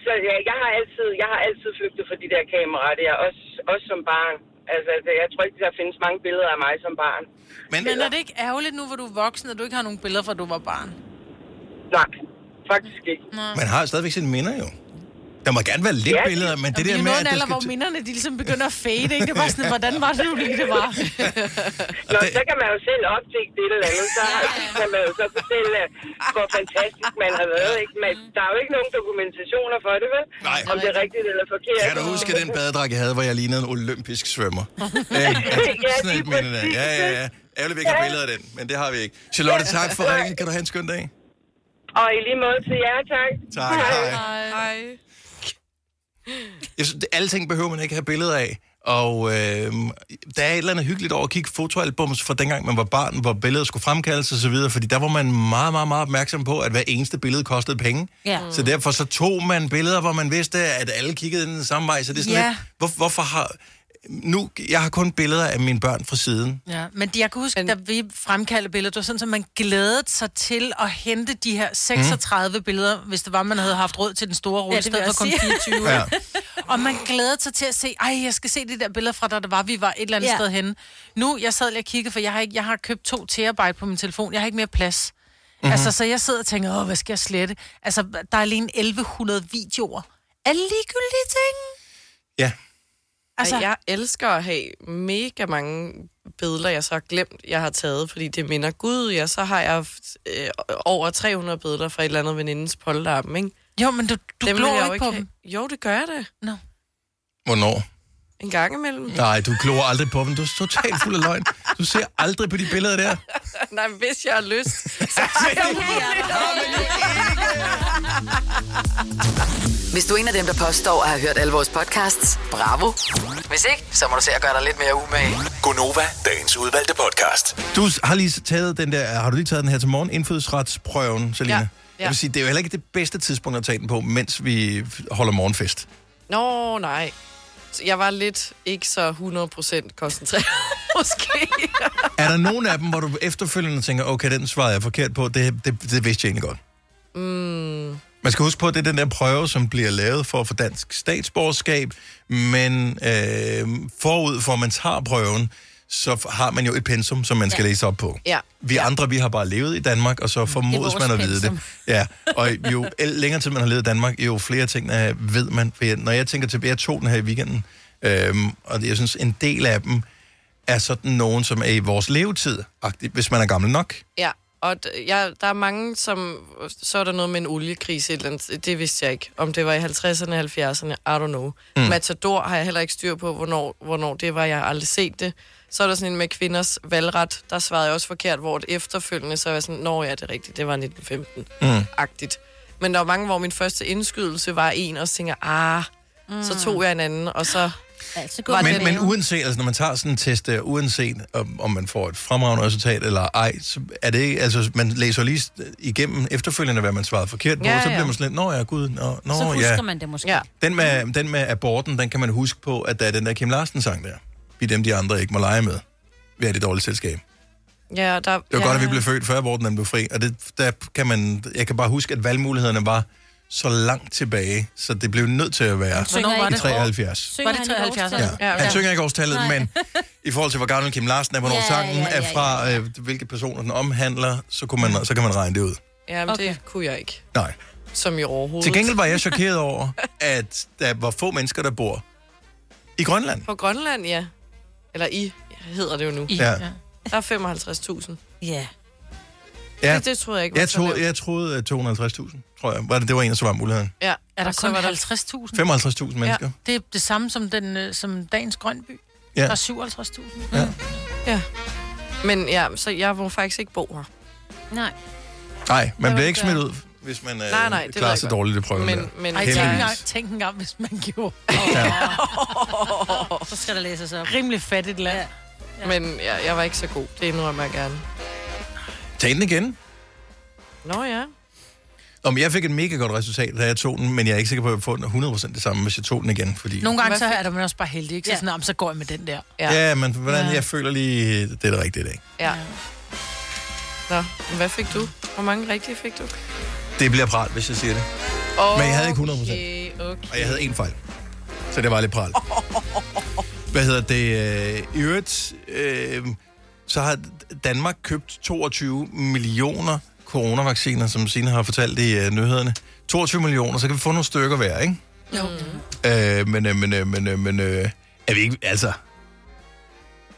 Speaker 13: Så ja, jeg har altid, jeg har altid flygtet fra de der kameraer der, også, også som barn. Altså, altså, jeg tror ikke, der findes mange billeder af mig som barn.
Speaker 1: Men,
Speaker 4: Men er det ikke ærgerligt nu, hvor du er voksen, og du ikke har nogen billeder fra, du var barn?
Speaker 13: Nej, faktisk ikke.
Speaker 1: man har jo stadigvæk sine minder jo. Der må gerne være lidt
Speaker 4: Ja.
Speaker 1: billeder, men det
Speaker 4: vi er
Speaker 1: der
Speaker 4: jo
Speaker 1: med,
Speaker 4: nået
Speaker 1: at
Speaker 4: en
Speaker 1: det
Speaker 4: alder, hvor
Speaker 1: skal...
Speaker 4: minderne de ligesom begynder at fade, ikke? Det er bare sådan, hvordan var det nu lige, det var?
Speaker 13: Nå, så kan man jo selv opdække det eller andet, så kan man jo så fortælle, øh, hvor fantastisk man har været, ikke? Men der er jo ikke nogen dokumentationer for det, vel?
Speaker 1: Mm. Nej.
Speaker 13: Om det er rigtigt eller forkert.
Speaker 1: Kan du huske den badedrag, jeg havde, hvor jeg lignede en olympisk svømmer? ja, Sådan et minde der. Ja, ja, ja. Ærgerligt, vi ikke har billeder af den, men det har vi ikke. Charlotte, tak for ringen. Kan du have en skøn dag?
Speaker 13: Og i lige måde til jer, tak.
Speaker 1: Tak, hej.
Speaker 3: Hej.
Speaker 1: Jeg synes, det- alle ting behøver man ikke have billeder af. Og øh, der er et eller andet hyggeligt over at kigge fotoalbums fra dengang, man var barn, hvor billeder skulle fremkaldes og så videre, fordi der var man meget, meget, meget opmærksom på, at hver eneste billede kostede penge.
Speaker 5: Ja.
Speaker 1: Så derfor så tog man billeder, hvor man vidste, at alle kiggede den samme vej, så det er sådan
Speaker 4: Ja.
Speaker 1: ja. lidt, hvor, hvorfor har... Nu, jeg har kun billeder af mine børn fra siden.
Speaker 4: Ja, men de- jeg kan huske, men... da vi fremkaldte billeder, det var sådan, at man glædede sig til at hente de her 36 mm. billeder, hvis det var, man havde haft råd til den store rulle,
Speaker 5: Ja,
Speaker 4: ja,
Speaker 5: det
Speaker 4: det
Speaker 5: vil
Speaker 4: stedet for
Speaker 5: jeg
Speaker 4: kun
Speaker 5: sige.
Speaker 4: 24.
Speaker 1: Ja.
Speaker 4: ja. Og man glæder sig til at se, ej, jeg skal se de der billeder fra, da der var, vi var et eller andet
Speaker 5: Ja.
Speaker 4: ja. sted henne. Nu, jeg sad lige og kiggede, for jeg har, ikke, jeg har købt to terabyte på min telefon. Jeg har ikke mere plads.
Speaker 5: Mhm.
Speaker 4: Mm-hmm. Altså, så jeg sidder og tænker, åh, hvad skal jeg slette? Altså, der er alene 1100 videoer. Alle ligegyldige ting.
Speaker 3: Altså, jeg elsker at have mega mange billeder, jeg så har glemt, jeg har taget, fordi det minder Gud. Ja, så har jeg haft, øh, over 300 billeder fra et eller andet venindes polterappen, ikke?
Speaker 4: Jo, men du,
Speaker 1: du glor
Speaker 3: vil jeg jo
Speaker 1: ikke på
Speaker 3: have. Jo, det gør jeg da.
Speaker 4: No.
Speaker 1: Hvornår?
Speaker 3: En gang imellem.
Speaker 1: Nej, du glor aldrig på dem. Du er totalt fuld af løgn. Du ser aldrig på de billeder der.
Speaker 3: Nej, hvis jeg har lyst. så
Speaker 2: Hvis du er en af dem, der påstår at have hørt alle vores podcasts, bravo. Hvis ikke, så må du se at gøre dig lidt mere umage.
Speaker 6: Gonova, dagens udvalgte podcast.
Speaker 1: Du har lige taget den der, har du lige taget den her til morgen, indfødsretsprøven, Selina?
Speaker 3: Ja,
Speaker 1: Ja.
Speaker 3: ja.
Speaker 1: Jeg vil sige, det er jo heller ikke det bedste tidspunkt at tage den på, mens vi holder morgenfest.
Speaker 3: Nå, nej. Så Jeg var lidt ikke så 100% koncentreret, måske.
Speaker 1: Er der nogen af dem, hvor du efterfølgende tænker, okay, den svarede jeg forkert på, det, det, det vidste jeg egentlig godt?
Speaker 3: Mm.
Speaker 1: Man skal huske på, at det er den der prøve, som bliver lavet for at få dansk statsborgerskab, men øh, forud for, at man tager prøven, så har man jo et pensum, som man skal
Speaker 3: Ja.
Speaker 1: ja. læse op på.
Speaker 3: Ja.
Speaker 1: Vi andre, vi har bare levet i Danmark, og så formodes
Speaker 3: vores
Speaker 1: man at vide det.
Speaker 3: pensum.
Speaker 1: Ja, og jo el- længere tid man har levet i Danmark, jo flere ting øh, ved man. For jeg, når jeg tænker tilbage, jeg tog den her i weekenden, øhm, og jeg synes, en del af dem er sådan nogen, som er i vores levetid, hvis man er gammel nok.
Speaker 3: Ja, og d- jeg, der er mange, som... Så er der noget med en oliekrise et eller andet. Det vidste jeg ikke. Om det var i 50'erne, 70'erne, I don't know. Mm.
Speaker 5: Mm.
Speaker 3: Matador har jeg heller ikke styr på, hvornår, hvornår det var. Jeg har aldrig set det. Så er der sådan en med kvinders valgret. Der svarede jeg også forkert, hvor det efterfølgende, så var jeg sådan, nå ja, det er rigtigt, det var 1915-agtigt. Mm. Men der var mange, hvor min første indskydelse var en, og så tænker, jeg, ah, mm. så tog jeg en anden, og så...
Speaker 5: Altså,
Speaker 3: var
Speaker 1: Men,
Speaker 3: den
Speaker 1: men
Speaker 3: anden.
Speaker 1: uanset, altså når man tager sådan en test der, uanset om, om man får et fremragende resultat eller ej, så er det ikke, altså man læser lige st- igennem efterfølgende, hvad man svarede forkert på,
Speaker 5: Ja,
Speaker 1: ja, så
Speaker 5: ja.
Speaker 1: bliver man sådan lidt, nå ja, gud, nå, nå
Speaker 5: så husker
Speaker 1: ja.
Speaker 5: man Mm. det måske.
Speaker 3: Ja.
Speaker 1: Den med, den med aborten, den kan man huske på, at der er den der Kim Larsen-sang der. Vi er dem, de andre ikke må lege med. Vi er det dårlige selskab.
Speaker 3: Ja, og der,
Speaker 1: Det
Speaker 3: ja.
Speaker 1: var ja. godt, at vi blev født, før aborten den blev fri. Og det, der kan man, jeg kan bare huske, at valgmulighederne var så langt tilbage, så det blev nødt til at være
Speaker 4: synger ikke
Speaker 1: i
Speaker 4: et år.
Speaker 1: 73.
Speaker 4: Var det 73?
Speaker 1: Ja. Han synger ikke årstallet, men i forhold til, hvor gammel Kim Larsen er, hvornår
Speaker 3: Ja,
Speaker 1: sangen
Speaker 3: ja, ja,
Speaker 1: er fra, øh, hvilke personer den omhandler, så, kunne man, så kan man regne det ud.
Speaker 3: Ja, men okay. det kunne jeg ikke.
Speaker 1: Nej.
Speaker 3: Som i overhovedet.
Speaker 1: Til gengæld var jeg chokeret over, at der var få mennesker, der bor i Grønland.
Speaker 3: På Grønland, ja. Eller I hedder det jo nu.
Speaker 1: I, Ja. ja.
Speaker 3: Der er 55.000.
Speaker 5: Ja.
Speaker 1: Ja.
Speaker 3: Det, det troede jeg ikke var
Speaker 1: Jeg
Speaker 3: så
Speaker 1: troede,
Speaker 3: lavt.
Speaker 1: jeg troede øh, 250.000, tror jeg. Var det, det var en, der var muligheden.
Speaker 3: Ja.
Speaker 4: Er der
Speaker 3: Og så
Speaker 4: kun
Speaker 3: var
Speaker 4: 50.000?
Speaker 3: der-
Speaker 1: 55.000 mennesker.
Speaker 4: Ja, det er det samme som, den, øh, som dagens Grønby.
Speaker 1: Ja.
Speaker 4: Ja. Der er 57.000.
Speaker 1: Ja.
Speaker 3: Ja. Men ja, så jeg må faktisk ikke bo her.
Speaker 5: Nej.
Speaker 1: Nej, man
Speaker 3: Jeg
Speaker 1: bliver
Speaker 3: vil
Speaker 1: ikke
Speaker 3: gøre-
Speaker 1: smidt ud, hvis man øh,
Speaker 3: Nej, nej, det ved
Speaker 1: klarer
Speaker 3: jeg
Speaker 1: sig
Speaker 3: godt.
Speaker 1: dårligt i prøven.
Speaker 3: Men-
Speaker 1: der.
Speaker 3: men-
Speaker 4: Ej, tænk
Speaker 1: Heldigvis.
Speaker 4: engang, tænk engang, hvis man gjorde.
Speaker 5: Så skal der læses op.
Speaker 4: Rimelig fattigt land. Ja.
Speaker 3: Ja. Men jeg, jeg var ikke så god. Det indrømmer jeg gerne.
Speaker 1: Tag den igen.
Speaker 3: Nå ja.
Speaker 1: Nå, men jeg fik et mega godt resultat, da jeg tog den, men jeg er ikke sikker på, at jeg får den 100% det samme, hvis jeg tog den igen. Fordi...
Speaker 4: Nogle gange så er der man også bare heldig, ikke? Så, sådan, "Nå, men så går jeg med den der.
Speaker 1: Ja, men hvordan, jeg føler lige, det er det rigtige i dag.
Speaker 3: Ja. Nå, men hvad fik du? Hvor mange rigtige fik du?
Speaker 1: Det bliver pral, hvis jeg siger det.
Speaker 3: Okay,
Speaker 1: Men jeg havde ikke 100%.
Speaker 3: Okay.
Speaker 1: Og jeg havde en fejl. Så det var lidt pral. Hvad hedder det? øh, I øvrigt, øh, så har Danmark købt 22 millioner coronavacciner, som Signe har fortalt i øh, nyhederne. 22 millioner, så kan vi få nogle stykker hver, ikke?
Speaker 4: Jo.
Speaker 14: Mm.
Speaker 1: Øh, men, øh, men, øh, men, øh, men, øh, er vi ikke, altså...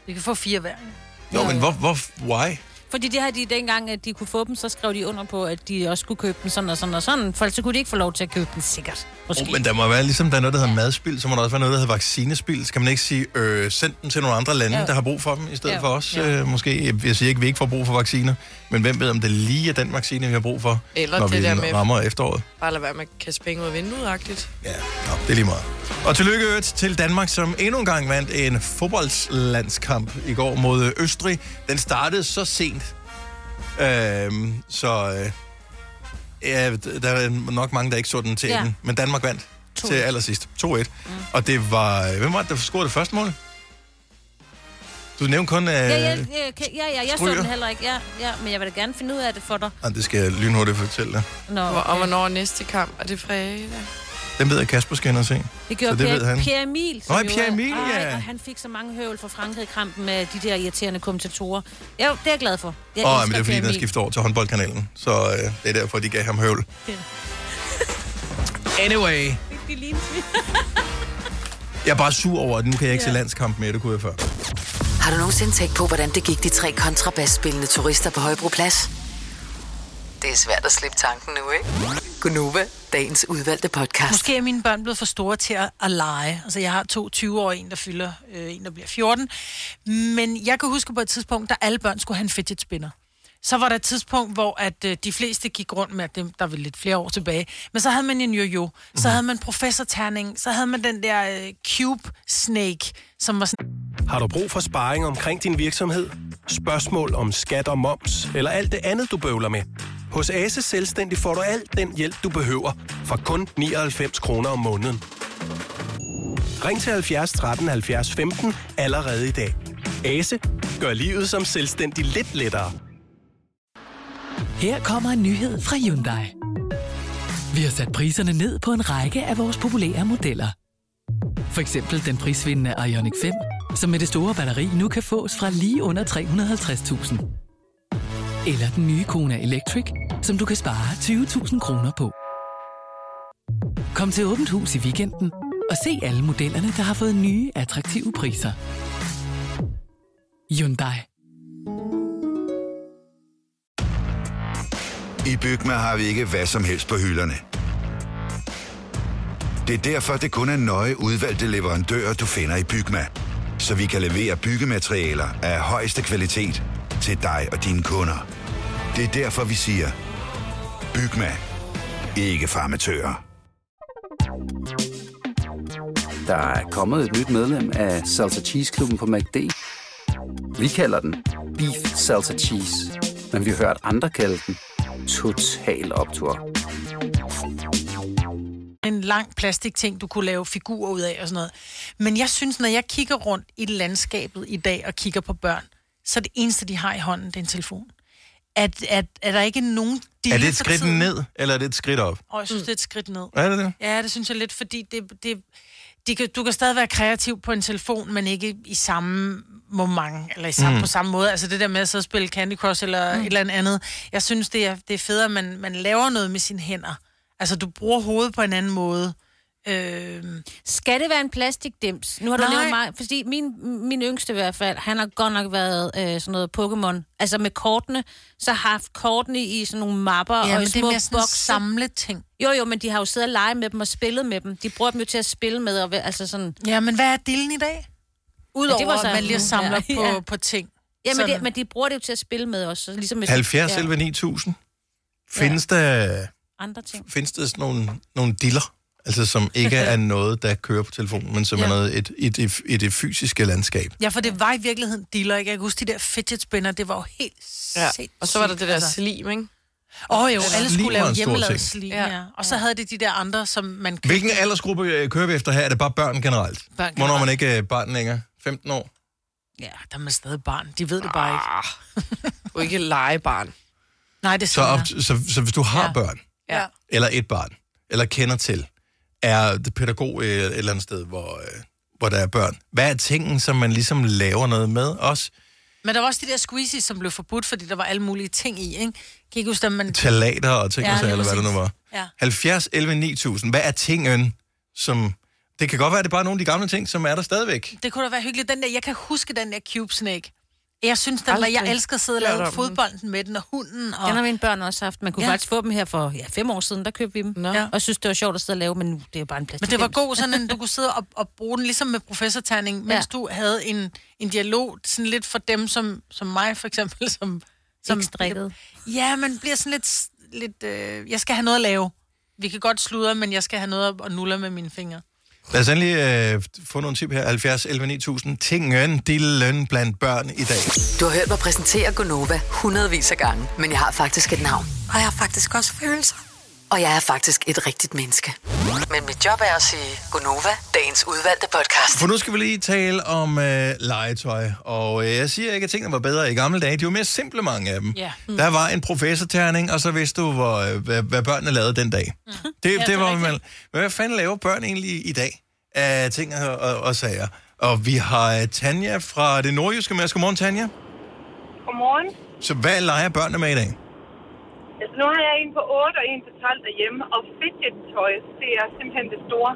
Speaker 4: Vi kan få fire hver. ikke?
Speaker 1: Nå, men hvor, hvor, why?
Speaker 5: Fordi det her, de dengang, at de kunne få dem, så skrev de under på, at de også skulle købe dem sådan og sådan og sådan. For ellers så kunne de ikke få lov til at købe dem sikkert.
Speaker 1: Oh, men der må være, ligesom der er noget, der hedder madspild, så må der også være noget, der hedder vaccinespild. Skal man ikke sige, øh, send den til nogle andre lande,
Speaker 5: Ja.
Speaker 1: ja. der har brug for dem, i stedet
Speaker 5: Ja.
Speaker 1: ja. for os?
Speaker 5: Ja.
Speaker 1: Ja. Øh, måske, jeg, jeg siger ikke, at vi ikke får brug for vacciner, men hvem ved, om det lige er den vaccine, vi har brug for,
Speaker 3: Eller
Speaker 1: når
Speaker 3: det
Speaker 1: vi
Speaker 3: der med-
Speaker 1: rammer efteråret.
Speaker 3: Bare lad være med at kaste penge ud af vinduet-agtigt.
Speaker 1: Ja. Nå, det er lige meget. Og tillykke øvrigt til Danmark, som endnu en gang vandt en fodboldslandskamp i går mod Østrig. Den startede så sent, øhm, så øh, ja, d- der er nok mange, der ikke så den til
Speaker 5: Ja.
Speaker 1: ja. Men Danmark vandt
Speaker 5: 2-1.
Speaker 1: til allersidst. 2-1. Mm. Og det var... øh, Hvem var det, der scorede det første mål? Du nævnte kun... Øh,
Speaker 5: Ja, ja, ja, okay. ja, ja, jeg så
Speaker 1: stryger.
Speaker 5: den heller ikke. Ja, ja, men jeg vil da gerne finde ud af det for dig.
Speaker 1: ah, det skal jeg lynhurtigt fortælle dig.
Speaker 5: Nå,
Speaker 3: Og hvornår er næste kamp? Er det fredag?
Speaker 1: Den ved jeg, Kasper skal ind og se.
Speaker 5: Det gjorde
Speaker 1: så det
Speaker 5: Pierre,
Speaker 1: ved han.
Speaker 5: Pierre Emil. som
Speaker 1: Nå,
Speaker 5: jo
Speaker 1: Pierre
Speaker 5: er-
Speaker 1: Emil,
Speaker 5: Ej,
Speaker 1: ja.
Speaker 5: og han fik så mange høvl fra Frankrig-kampen med de der irriterende kommentatorer. Jo, det er jeg glad for. Jeg
Speaker 1: Åh,
Speaker 5: elsker
Speaker 1: oh, men det er fordi,
Speaker 5: Pierre
Speaker 1: den er
Speaker 5: Emil.
Speaker 1: skiftet over til håndboldkanalen. Så øh, det er derfor, de gav ham høvl. Anyway,
Speaker 5: Det er lige en svin.
Speaker 1: jeg er bare sur over, at nu kan jeg ikke se landskamp mere. Det kunne jeg før.
Speaker 2: Har du nogensinde tænkt på, hvordan det gik de tre kontrabasspillende turister på Højbroplads? Det er svært at slippe tanken nu, ikke? Gunova, dagens udvalgte podcast.
Speaker 4: Måske er mine børn blevet for store til at, at lege. Altså, jeg har to 20-årige, en der fylder, øh, en der bliver 14. Men jeg kan huske på et tidspunkt, da alle børn skulle have en fidget spinner. Så var der et tidspunkt, hvor at, øh, de fleste gik rundt med, at dem, der var lidt flere år tilbage, men så havde man en jojo, så havde man professorterning, så havde man den der øh, cube snake, som var sådan...
Speaker 15: Har du brug for sparring omkring din virksomhed? Spørgsmål om skat og moms, eller alt det andet, du bøvler med? Hos Ase Selvstændig får du alt den hjælp, du behøver, for kun 99 kroner om måneden. Ring til 70 13 70 15 allerede i dag. Ase gør livet som selvstændig lidt lettere.
Speaker 16: Her kommer en nyhed fra Hyundai. Vi har sat priserne ned på en række af vores populære modeller. For eksempel den prisvindende Ioniq 5, som med det store batteri nu kan fås fra lige under 350.000. Eller den nye Kona Electric, som du kan spare 20.000 kroner på. Kom til Åbent Hus i weekenden og se alle modellerne, der har fået nye, attraktive priser. Hyundai.
Speaker 17: I Bygma har vi ikke hvad som helst på hylderne. Det er derfor, det kun er nøje udvalgte leverandører, du finder i Bygma. Så vi kan levere byggematerialer af højeste kvalitet til dig og dine kunder. Det er derfor, vi siger, Bygma. Ikke farmatører.
Speaker 18: Der er kommet et nyt medlem af Salsa Cheese Klubben på MACD. Vi kalder den Beef Salsa Cheese, men vi har hørt andre kalde den Total Optor.
Speaker 4: en lang plastikting, du kunne lave figurer ud af og sådan noget. Men jeg synes, når jeg kigger rundt i landskabet i dag og kigger på børn, så er det eneste, de har i hånden, det er en telefon. At, at, er der ikke nogen dille
Speaker 1: Er det et
Speaker 4: for
Speaker 1: skridt
Speaker 4: tiden?
Speaker 1: ned, eller er det et skridt op?
Speaker 4: Og jeg synes, det er et skridt ned.
Speaker 1: Er det det?
Speaker 4: Ja, det synes jeg lidt, fordi det, det, de kan, du kan stadig være kreativ på en telefon, men ikke i samme moment, eller i samme,
Speaker 19: Mm.
Speaker 4: mm. på samme måde. Altså det der med at sidde og spille Candy Crush eller mm. et eller andet. Jeg synes, det er, det er federe, at man, man laver noget med sine hænder. Altså du bruger hovedet på en anden måde. Øh,
Speaker 5: Skal det være en plastikdims? Nu har du
Speaker 4: Nej.
Speaker 5: nævnt mig, fordi min, min yngste i hvert fald, han har godt nok været øh, sådan noget Pokémon. Altså med kortene, så har haft kortene i sådan nogle mapper
Speaker 4: Ja,
Speaker 5: og i
Speaker 4: men det er
Speaker 5: små
Speaker 4: mere sådan en ting.
Speaker 5: Jo, jo, men de har jo siddet og leget med dem og spillet med dem. De bruger dem jo til at spille med. Og, væ- altså sådan...
Speaker 4: Ja, men hvad er dillen i dag? Udover, at man lige samler på- på ting.
Speaker 5: Ja, men, det,
Speaker 4: Sådan.
Speaker 5: men de bruger det jo til at spille med også. så Ligesom hvis-
Speaker 1: 70
Speaker 5: ja.
Speaker 1: ja. 9000? Findes, der,
Speaker 5: Andre ting.
Speaker 1: findes der sådan nogle, nogle diller? Altså, som ikke er noget, der kører på telefonen, men som ja.
Speaker 4: Ja.
Speaker 1: er noget et, et, et, et, et fysiske landskab.
Speaker 4: Ja, for det var i virkeligheden dealer, ikke? Jeg kan huske, de der fidget spinner, det var jo helt
Speaker 3: Ja,
Speaker 4: sindssygt. altså.
Speaker 3: og så var der det der slim, ikke?
Speaker 4: Åh oh, jo,
Speaker 3: Eller-
Speaker 4: alle
Speaker 1: Slim
Speaker 4: skulle
Speaker 1: var
Speaker 4: lave
Speaker 1: en stor
Speaker 4: hjemmelavet
Speaker 1: ting.
Speaker 4: slim, ja. ja. Og så havde det de der andre, som man købte.
Speaker 1: Hvilken aldersgruppe øh, kører vi efter her? Er det bare børn generelt?
Speaker 4: Børn
Speaker 1: Hvornår er man
Speaker 4: generelt.
Speaker 1: ikke øh, barn længere? 15 år?
Speaker 4: Ja, der er man stadig barn. De ved det bare ikke.
Speaker 1: Ah.
Speaker 3: Du er ikke legebarn.
Speaker 4: Nej, det er
Speaker 1: Så, op,
Speaker 4: senere.
Speaker 1: så, så hvis du har ja. børn,
Speaker 4: Ja.
Speaker 1: eller et barn, eller kender til, er det pædagog øh, et eller andet sted, hvor, øh, hvor der er børn. Hvad er tingen, som man ligesom laver noget med? Også
Speaker 4: Men der var også de der squeezies, som blev forbudt, fordi der var alle mulige ting i, ikke? Kan I ikke huske, at man...
Speaker 1: talater og ting,
Speaker 4: Ja,
Speaker 1: ja,
Speaker 4: lige
Speaker 1: eller hvad det nu
Speaker 4: præcis.
Speaker 1: var.
Speaker 4: Ja.
Speaker 1: 70, 11, 9000. Hvad er tingen, som... Det kan godt være, at det er bare nogle af de gamle ting, som er der stadigvæk.
Speaker 4: Det kunne da være hyggeligt. Den der, jeg kan huske den der cube snake. Jeg synes, den var,
Speaker 5: Aldrig.
Speaker 4: jeg elsker at sidde og
Speaker 5: Hørt om
Speaker 4: lave
Speaker 5: den.
Speaker 4: fodbolden med den og hunden. Og...
Speaker 5: Den har mine børn også haft. Man kunne
Speaker 4: Ja.
Speaker 5: ja. faktisk få dem her for ja, fem år siden, der købte vi dem. Ja. Og synes, det var sjovt at sidde og lave, men nu det er bare en plastik.
Speaker 4: Men det var god, sådan at du kunne sidde og, og bruge den ligesom med professorterning, mens ja. du havde en, en dialog, sådan lidt for dem som, som mig for eksempel, som... som
Speaker 5: Ikke strikket.
Speaker 4: Ja, man bliver sådan lidt... s- lidt øh, jeg skal have noget at lave. Vi kan godt sludre, men jeg skal have noget at- at nulle med mine fingre.
Speaker 1: Lad os endelig øh, få nogle tip her. 70, 11, 9000. Tingen, dillen blandt børn i dag.
Speaker 2: Du har hørt mig præsentere Gunova hundredvis af gange, men jeg har faktisk et navn. Og jeg har faktisk også følelser. Og jeg er faktisk et rigtigt menneske. Men mit job er at sige Gunova, dagens udvalgte podcast.
Speaker 1: For nu skal vi lige tale om øh, legetøj, og øh, jeg siger ikke, at tingene var bedre i gamle dage. De var mere simple, mange af dem.
Speaker 5: Ja.
Speaker 1: Mm. Der var en professorterning, og så vidste du, hvor, øh, hvad, hvad børnene lavede den dag. Mm. Det, det, det var man, Hvad fanden laver børn egentlig i dag af ting og, og, og sager? Og vi har øh, Tanja fra det nordjyske med os. Godmorgen, Tanja.
Speaker 19: Godmorgen.
Speaker 1: Så hvad leger børnene med i dag?
Speaker 19: Altså, nu har jeg en på 8 og en på 12 derhjemme, og fidget-tøj, det er simpelthen det store.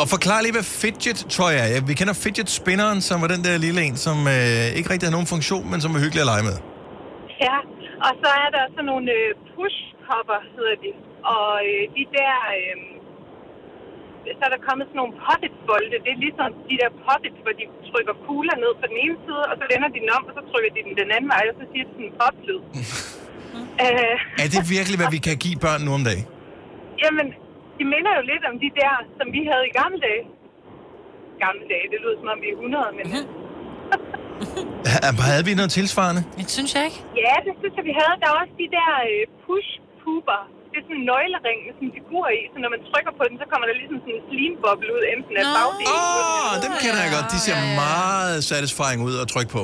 Speaker 1: Og forklar lige, hvad fidget tøj er. Ja, vi kender fidget spinneren, som var den der lille en, som øh, ikke rigtig havde nogen funktion, men som var hyggelig at lege med.
Speaker 19: Ja, og så er der sådan nogle øh, push-popper, hedder de. Og øh, de der... Øh, så er der kommet sådan nogle poppetbolde. Det er ligesom de der poppets, hvor de trykker kugler ned på den ene side, og så vender de den om, og så trykker de den den anden vej, og så siger det sådan en poplyd. øh,
Speaker 1: Er det virkelig, hvad vi kan give børn nu om dagen?
Speaker 19: Jamen, de minder jo lidt om de der, som vi havde i gamle dage. Gamle dage, det lyder som om vi er 100, men... øh,
Speaker 1: Ha- Havde vi noget tilsvarende?
Speaker 19: Det synes jeg ikke. Ja, det synes jeg, vi havde. Der er også de der øh, push-puber. Det er sådan en nøglering med sådan en figur i, så når man trykker på den, så kommer der ligesom sådan en slimboble ud, enten af bagdelen.
Speaker 1: Åh, oh, dem kender jeg godt. De ser meget satisfying ud at trykke på.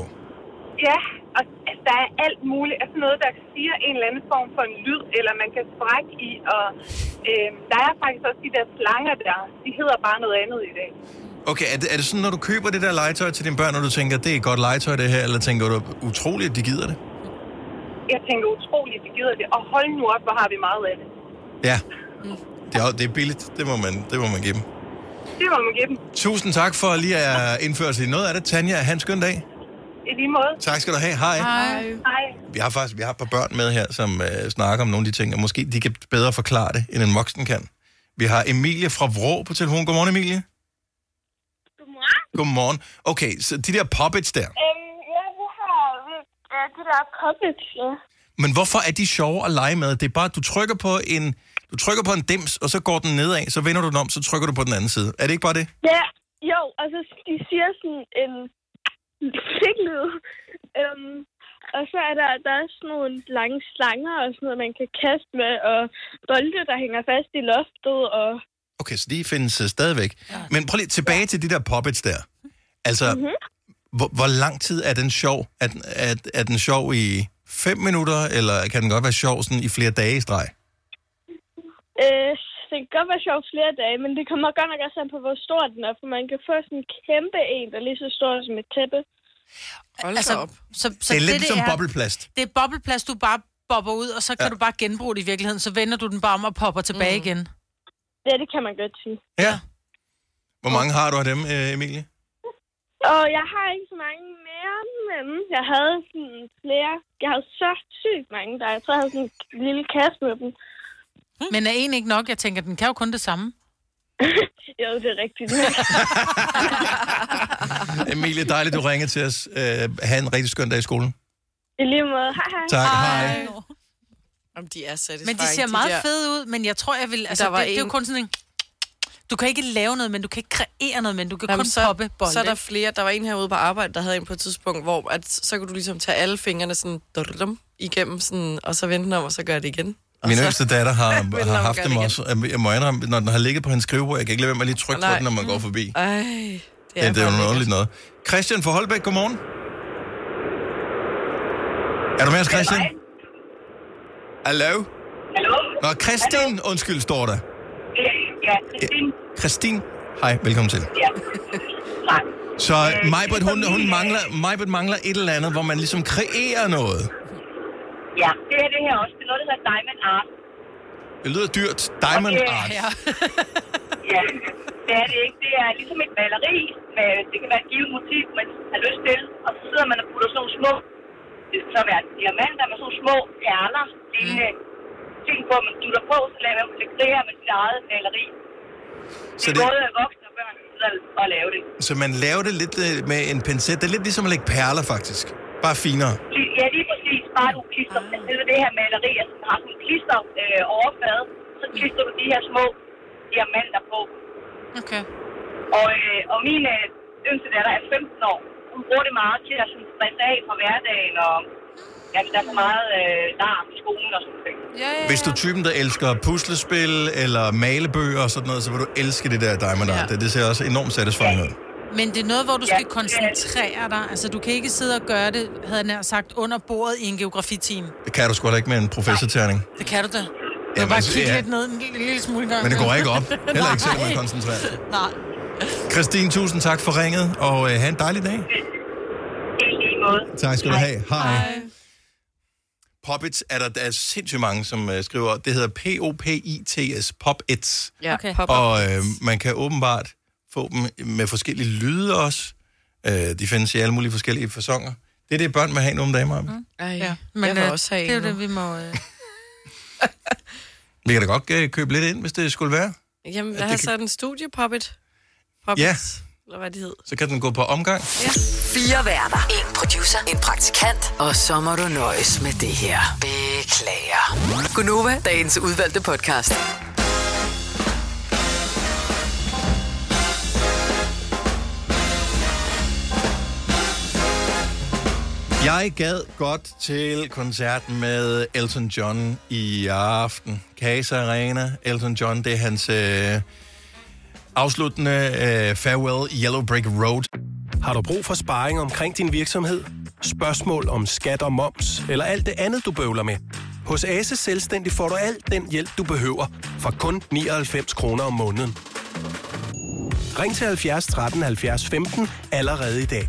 Speaker 19: Ja, og altså, der er alt muligt. Altså noget, der siger en eller anden form for en lyd, eller man kan sprække i. Og øh, der er faktisk også de der slanger der. De hedder bare noget andet i dag.
Speaker 1: Okay, er det, er det sådan, når du køber det der legetøj til dine børn, og du tænker, det er et godt legetøj det her, eller tænker du, utroligt, at de gider det?
Speaker 19: Jeg tænker utroligt, de gider det. Og hold nu op, hvor har vi meget af det.
Speaker 1: Ja. Det er, jo- det er billigt. Det må, man, det må man give dem.
Speaker 19: Det må man give dem.
Speaker 1: Tusind tak for lige at indføre sig i noget af det. Tanja, have en skøn dag.
Speaker 19: I lige måde.
Speaker 1: Tak skal du have. Hej.
Speaker 19: Hej.
Speaker 1: Vi har faktisk vi har et par børn med her, som øh, snakker om nogle af de ting, og måske de kan bedre forklare det, end en voksen kan. Vi har Emilie fra Vrå på telefon. Godmorgen, Emilie. Godmorgen. Godmorgen. Okay, så de der puppets der.
Speaker 14: Øhm, ja, vi har øh, det der puppets, ja.
Speaker 1: Men hvorfor er de sjove at lege med? Det er bare, at du trykker på en, du trykker på en dims, og så går den nedad, så vender du den om, så trykker du på den anden side. Er det ikke bare det?
Speaker 14: Ja, jo, altså de siger sådan en siklyd. Øhm, og så er der, der er sådan nogle lange slanger og sådan noget, man kan kaste med, og bolde, der hænger fast i loftet, og
Speaker 1: Okay, så de findes øh, stadigvæk. Men prøv lige tilbage til de der puppets der. Altså,
Speaker 3: Mhm.
Speaker 1: mm-hmm. hvor, hvor lang tid er den sjov? Er den, er, er den sjov i fem minutter, eller kan den godt være sjov sådan i flere dage i streg?
Speaker 14: øh, det kan godt være sjovt flere dage, men det kommer godt nok også an på, hvor stor den er, for man kan få sådan en kæmpe en, der er lige så stor som et tæppe.
Speaker 4: Hold altså, op. Så, så
Speaker 1: Det er lidt
Speaker 4: det,
Speaker 1: som
Speaker 4: er,
Speaker 1: bobleplast.
Speaker 4: Det er bobleplast, du bare bobber ud, og så kan
Speaker 1: Ja.
Speaker 4: ja. du bare genbruge det i virkeligheden. Så vender du den bare om og popper tilbage mm. igen.
Speaker 14: Ja, det kan man godt sige.
Speaker 1: Ja. Hvor mange har du af dem, øh, Emilie?
Speaker 14: Og jeg har ikke så mange mere, men jeg havde sådan flere. Jeg havde så sygt mange der. Jeg tror, jeg havde sådan en lille kasse med dem.
Speaker 4: Men er en ikke nok? Jeg tænker, den kan jo kun det samme.
Speaker 14: jo, det er rigtigt.
Speaker 1: Emilie, dejligt, du ringede til os. Øh, ha' en rigtig skøn dag i skolen.
Speaker 14: I lige måde. Hej, hej.
Speaker 1: Tak, hej.
Speaker 3: Jamen, de er satisfying.
Speaker 4: Men de ser meget de fede ud, men jeg tror, jeg vil... Altså,
Speaker 3: Der
Speaker 4: der
Speaker 3: var
Speaker 4: det, det er jo
Speaker 3: en-
Speaker 4: kun sådan en... Du kan ikke lave noget, men du kan ikke kreere noget, men du kan Jamen, kun
Speaker 3: så,
Speaker 4: poppe bolde.
Speaker 3: Så er der flere. Der var en herude på arbejde, der havde en på et tidspunkt, hvor at, så kunne du ligesom tage alle fingrene sådan, drum, igennem, sådan, og så vende den om, og så gøre det igen. Og
Speaker 1: Min
Speaker 3: så-
Speaker 1: yngste datter har,
Speaker 3: Vil
Speaker 1: har
Speaker 3: hun
Speaker 1: haft
Speaker 3: gøre
Speaker 1: dem
Speaker 3: det igen?
Speaker 1: også. Jeg må indrømme, når den har ligget på hendes skrivebord, jeg kan ikke lade være med at lige trykke på
Speaker 3: Nej. Mm.
Speaker 1: den, når man går forbi.
Speaker 3: Ej, det
Speaker 1: Ja, det er jo
Speaker 3: faktisk-
Speaker 1: noget underligt noget. Christian fra Holbæk, godmorgen. Er du med os, Christian? Hallo?
Speaker 19: Hallo?
Speaker 1: Nå, Christine, undskyld, står der.
Speaker 19: Ja, Christine.
Speaker 1: Christine, hej, velkommen til.
Speaker 19: Ja. Øh, Tak.
Speaker 1: Så Majbert, hun, hun mangler, Majbert mangler et eller andet, hvor man ligesom kreerer noget.
Speaker 19: Ja, det er det her også. Det er noget, der hedder Diamond Art.
Speaker 1: Det lyder dyrt. Diamond
Speaker 19: Og det-
Speaker 1: art.
Speaker 19: ja, det er det ikke. Det er ligesom et maleri. Med, det kan være et givet motiv, man har lyst til. Og så sidder man og putter sådan nogle små... Det kan så være diamanter med sådan nogle små perler.
Speaker 1: Mm.
Speaker 19: Lignende ting på, man dutter på, så laver man det kreer med sit eget maleri. Det
Speaker 1: Så
Speaker 19: er
Speaker 1: det-
Speaker 19: både voksne og børn, der sidder og lave det.
Speaker 1: Så man laver det lidt øh, med en pincet. Det er lidt ligesom at lægge perler, faktisk. Bare finere.
Speaker 19: Lige- Ja, lige præcis. Bare du klister ah. selve det her maleri, altså den har sådan en klister øh, overflade, så klister du de her små diamanter på.
Speaker 4: Okay.
Speaker 19: Og, øh, og min øh, yngste datter er 15 år. Hun bruger det meget til at sådan, stresse af fra hverdagen, og jamen, der er så meget øh, larm i skolen og sådan noget.
Speaker 1: Hvis du er typen, der elsker puslespil eller malebøger og sådan noget, så vil du elske det der Diamond Art.
Speaker 4: Ja.
Speaker 1: Det, det ser også enormt satisfying ud.
Speaker 4: Men det er noget, hvor du skal koncentrere dig. Altså, du kan ikke sidde og gøre det, havde jeg nær sagt, under bordet i en geografiteam.
Speaker 1: Det kan du sgu heller ikke med en professorterning.
Speaker 4: Det kan du da. Du kan
Speaker 1: Jamen,
Speaker 4: bare
Speaker 1: så-
Speaker 4: kigge
Speaker 1: ja.
Speaker 4: lidt ned en lille, lille smule gang.
Speaker 1: Men det går ikke op. Heller ikke, selvom man
Speaker 4: Nej.
Speaker 1: koncentrerer sig.
Speaker 4: Nej.
Speaker 1: Christine, tusind tak for ringet, og øh, have en dejlig dag. Tak skal du have. Hej. Poppets er der, der er sindssygt mange, som øh, skriver. Det hedder P-O-P-I-T-S. Poppets.
Speaker 3: Ja, okay.
Speaker 1: Og øh, man kan åbenbart få dem med forskellige lyde også. Øh, de findes i alle mulige forskellige fasonger. Det er det, børn må have nu om dagen, Maja.
Speaker 4: Mm.
Speaker 3: Ej,
Speaker 4: ja.
Speaker 3: men jeg vil
Speaker 4: øh,
Speaker 3: også have
Speaker 4: Det er jo
Speaker 3: en nu.
Speaker 4: det, vi må... Øh...
Speaker 1: Vi kan da godt øh, købe lidt ind, hvis det skulle være.
Speaker 3: Jamen, der
Speaker 1: Ja, det
Speaker 3: har
Speaker 1: kan-
Speaker 3: sådan en studiepuppet. Puppet,
Speaker 1: Ja.
Speaker 3: eller hvad det hed.
Speaker 1: Så kan den gå på omgang.
Speaker 2: Fire værter. En producer. En praktikant. Og så må du nøjes med det her. Beklager. Gunova, dagens udvalgte podcast.
Speaker 1: Jeg gad godt til koncerten med Elton John i aften. Casa Arena, Elton John, det er hans øh, afsluttende øh, farewell Yellow Brick Road.
Speaker 15: Har du brug for sparring omkring din virksomhed? Spørgsmål om skat og moms, eller alt det andet, du bøvler med? Hos Ase Selvstændig får du alt den hjælp, du behøver, for kun 99 kroner om måneden. Ring til 70 13 70 15 allerede i dag.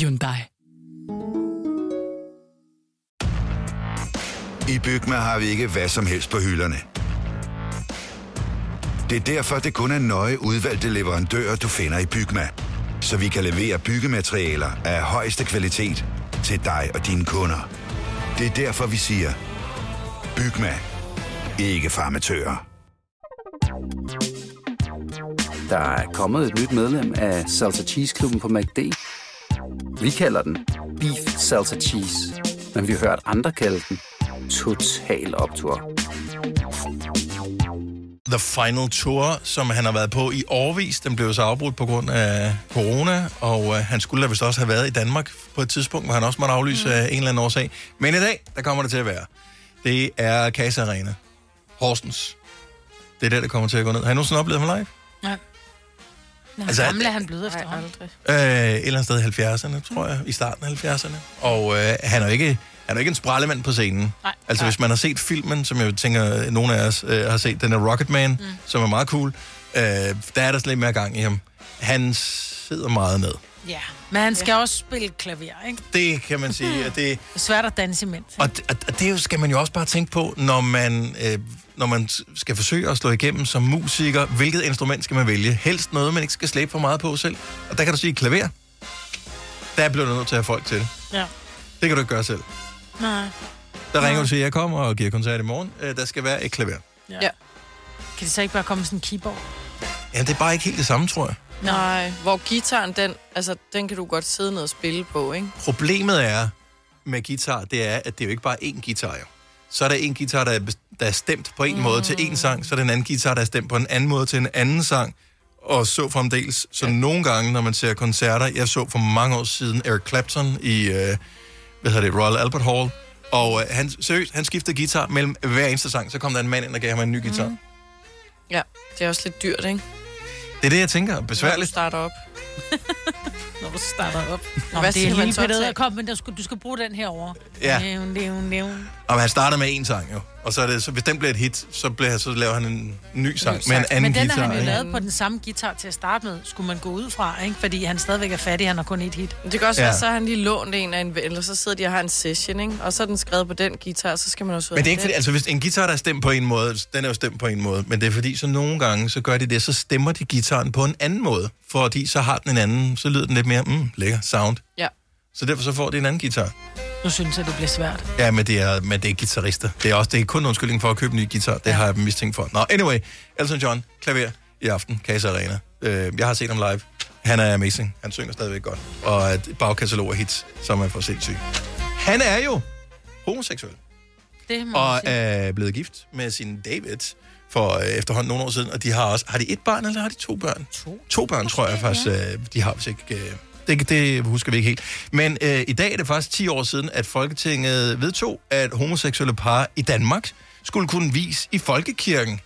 Speaker 16: Hyundai.
Speaker 17: I Bygma har vi ikke hvad som helst på hylderne. Det er derfor, det kun er nøje udvalgte leverandører, du finder i Bygma. Så vi kan levere byggematerialer af højeste kvalitet til dig og dine kunder. Det er derfor, vi siger, Bygma. Ikke farmatører.
Speaker 18: Der er kommet et nyt medlem af Salsa Cheese Klubben på MACD. Vi kalder den Beef Salsa Cheese, men vi har hørt andre kalde den Total Optor.
Speaker 1: The Final Tour, som han har været på i årvis. Den blev så afbrudt på grund af corona, og øh, han skulle da vist også have været i Danmark på et tidspunkt, hvor han også måtte aflyse mm. af en eller anden årsag. Men i dag, der kommer det til at være. Det er Casa Arena. Horsens. Det er der, det kommer til at gå ned. Har I nogensinde oplevet ham live?
Speaker 4: Nej. Nå, altså,
Speaker 1: Altså,
Speaker 4: gammel er han blevet efterhånden.
Speaker 1: Øh, et eller andet sted i 70'erne, tror jeg. I starten af 70'erne. Og øh, han er jo ikke... Han er jo ikke en sprallemand på scenen. Nej, altså, hvis man har set filmen, som jeg tænker, nogle af os øh, har set, den er Rocketman, mm. som er meget cool, øh, der er der slet mere gang i ham. Han sidder meget ned.
Speaker 4: Ja, men han skal ja. også spille klaver, ikke?
Speaker 1: Det kan man sige, at det...
Speaker 4: Det er svært at danse imens.
Speaker 1: Og, og, og det skal man jo også bare tænke på, når man, øh, når man s- skal forsøge at slå igennem som musiker. Hvilket instrument skal man vælge? Helst noget, man ikke skal slæbe for meget på selv. Og der kan du sige klaver. Der bliver du nødt til at have folk til det.
Speaker 4: Ja.
Speaker 1: Det kan du ikke gøre selv.
Speaker 4: Nej.
Speaker 1: Der ringer du og siger, jeg kommer og giver koncert i morgen. Øh, der skal være et klaver.
Speaker 4: Ja. ja. Kan det så ikke bare komme med sådan en keyboard?
Speaker 1: Ja, det er bare ikke helt det samme, tror jeg.
Speaker 3: Nej, hvor gitaren, den, altså, den kan du godt sidde ned og spille på, ikke?
Speaker 1: Problemet er med guitar, det er, at det er jo ikke bare én guitar, jo. Så er der en guitar, der er, bes- der er stemt på en mm. måde til en sang, så er der en anden guitar, der er stemt på en anden måde til en anden sang, og så fremdeles. Så ja. nogle gange, når man ser koncerter, jeg så for mange år siden Eric Clapton i, øh, hvad hedder det, Royal Albert Hall, og øh, han, seriøst, han skiftede guitar mellem hver eneste sang, så kom der en mand ind og gav ham en ny guitar. Mm.
Speaker 3: Ja, det er også lidt dyrt, ikke?
Speaker 1: Det er det, jeg tænker. Besværligt.
Speaker 3: Når du starter op.
Speaker 4: Når du starter op. Nå,
Speaker 3: Hvad
Speaker 4: Hvad det
Speaker 3: siger
Speaker 4: er
Speaker 3: man
Speaker 4: helt
Speaker 3: så til?
Speaker 4: bedre. Kom, men der skulle, du skal bruge den her over.
Speaker 1: Ja.
Speaker 4: Nævn, nævn, nævn.
Speaker 1: Og han starter med en sang jo, og så, er det, så hvis den bliver et hit, så, bliver, så laver han en ny sang med en anden
Speaker 4: Men den
Speaker 1: guitar.
Speaker 4: har han jo
Speaker 1: ikke?
Speaker 4: lavet på den samme guitar til at starte med, skulle man gå ud fra, ikke? Fordi han stadigvæk er fattig, han har kun et hit.
Speaker 3: Det kan også ja.
Speaker 1: Ja.
Speaker 3: være, så har han lige lånt en af en ven, eller så sidder de og har en session, ikke? Og så er den skrevet på den guitar, så skal man også ud
Speaker 1: Men det er
Speaker 3: af
Speaker 1: ikke fordi,
Speaker 3: den.
Speaker 1: altså hvis en guitar, der er stemt på en måde, den er jo stemt på en måde, men det er fordi, så nogle gange, så gør de det, så stemmer de gitaren på en anden måde, fordi så har den en anden, så lyder den lidt mere, mm, lækker sound.
Speaker 3: Ja.
Speaker 1: Så derfor så får de en anden guitar.
Speaker 4: Nu synes jeg, det bliver svært.
Speaker 1: Ja, men det er, men det er guitarister. Det er, også, det er kun en undskyldning for at købe en ny guitar. Det ja. har jeg dem mistænkt for. Nå, anyway. Elton John, klaver i aften, Casa Arena. Øh, jeg har set ham live. Han er amazing. Han synger stadigvæk godt. Og et bagkatalog af hits, som er for sindssyg. Han er jo homoseksuel.
Speaker 4: Det må
Speaker 1: Og
Speaker 4: og, øh,
Speaker 1: er blevet gift med sin David for øh, efterhånden nogle år siden. Og de har også... Har de et barn, eller har de to børn? To. To børn, tror jeg faktisk, øh, de har, hvis ikke... Øh, det, det husker vi ikke helt. Men øh, i dag er det faktisk 10 år siden, at Folketinget vedtog, at homoseksuelle par i Danmark skulle kunne vis i folkekirken.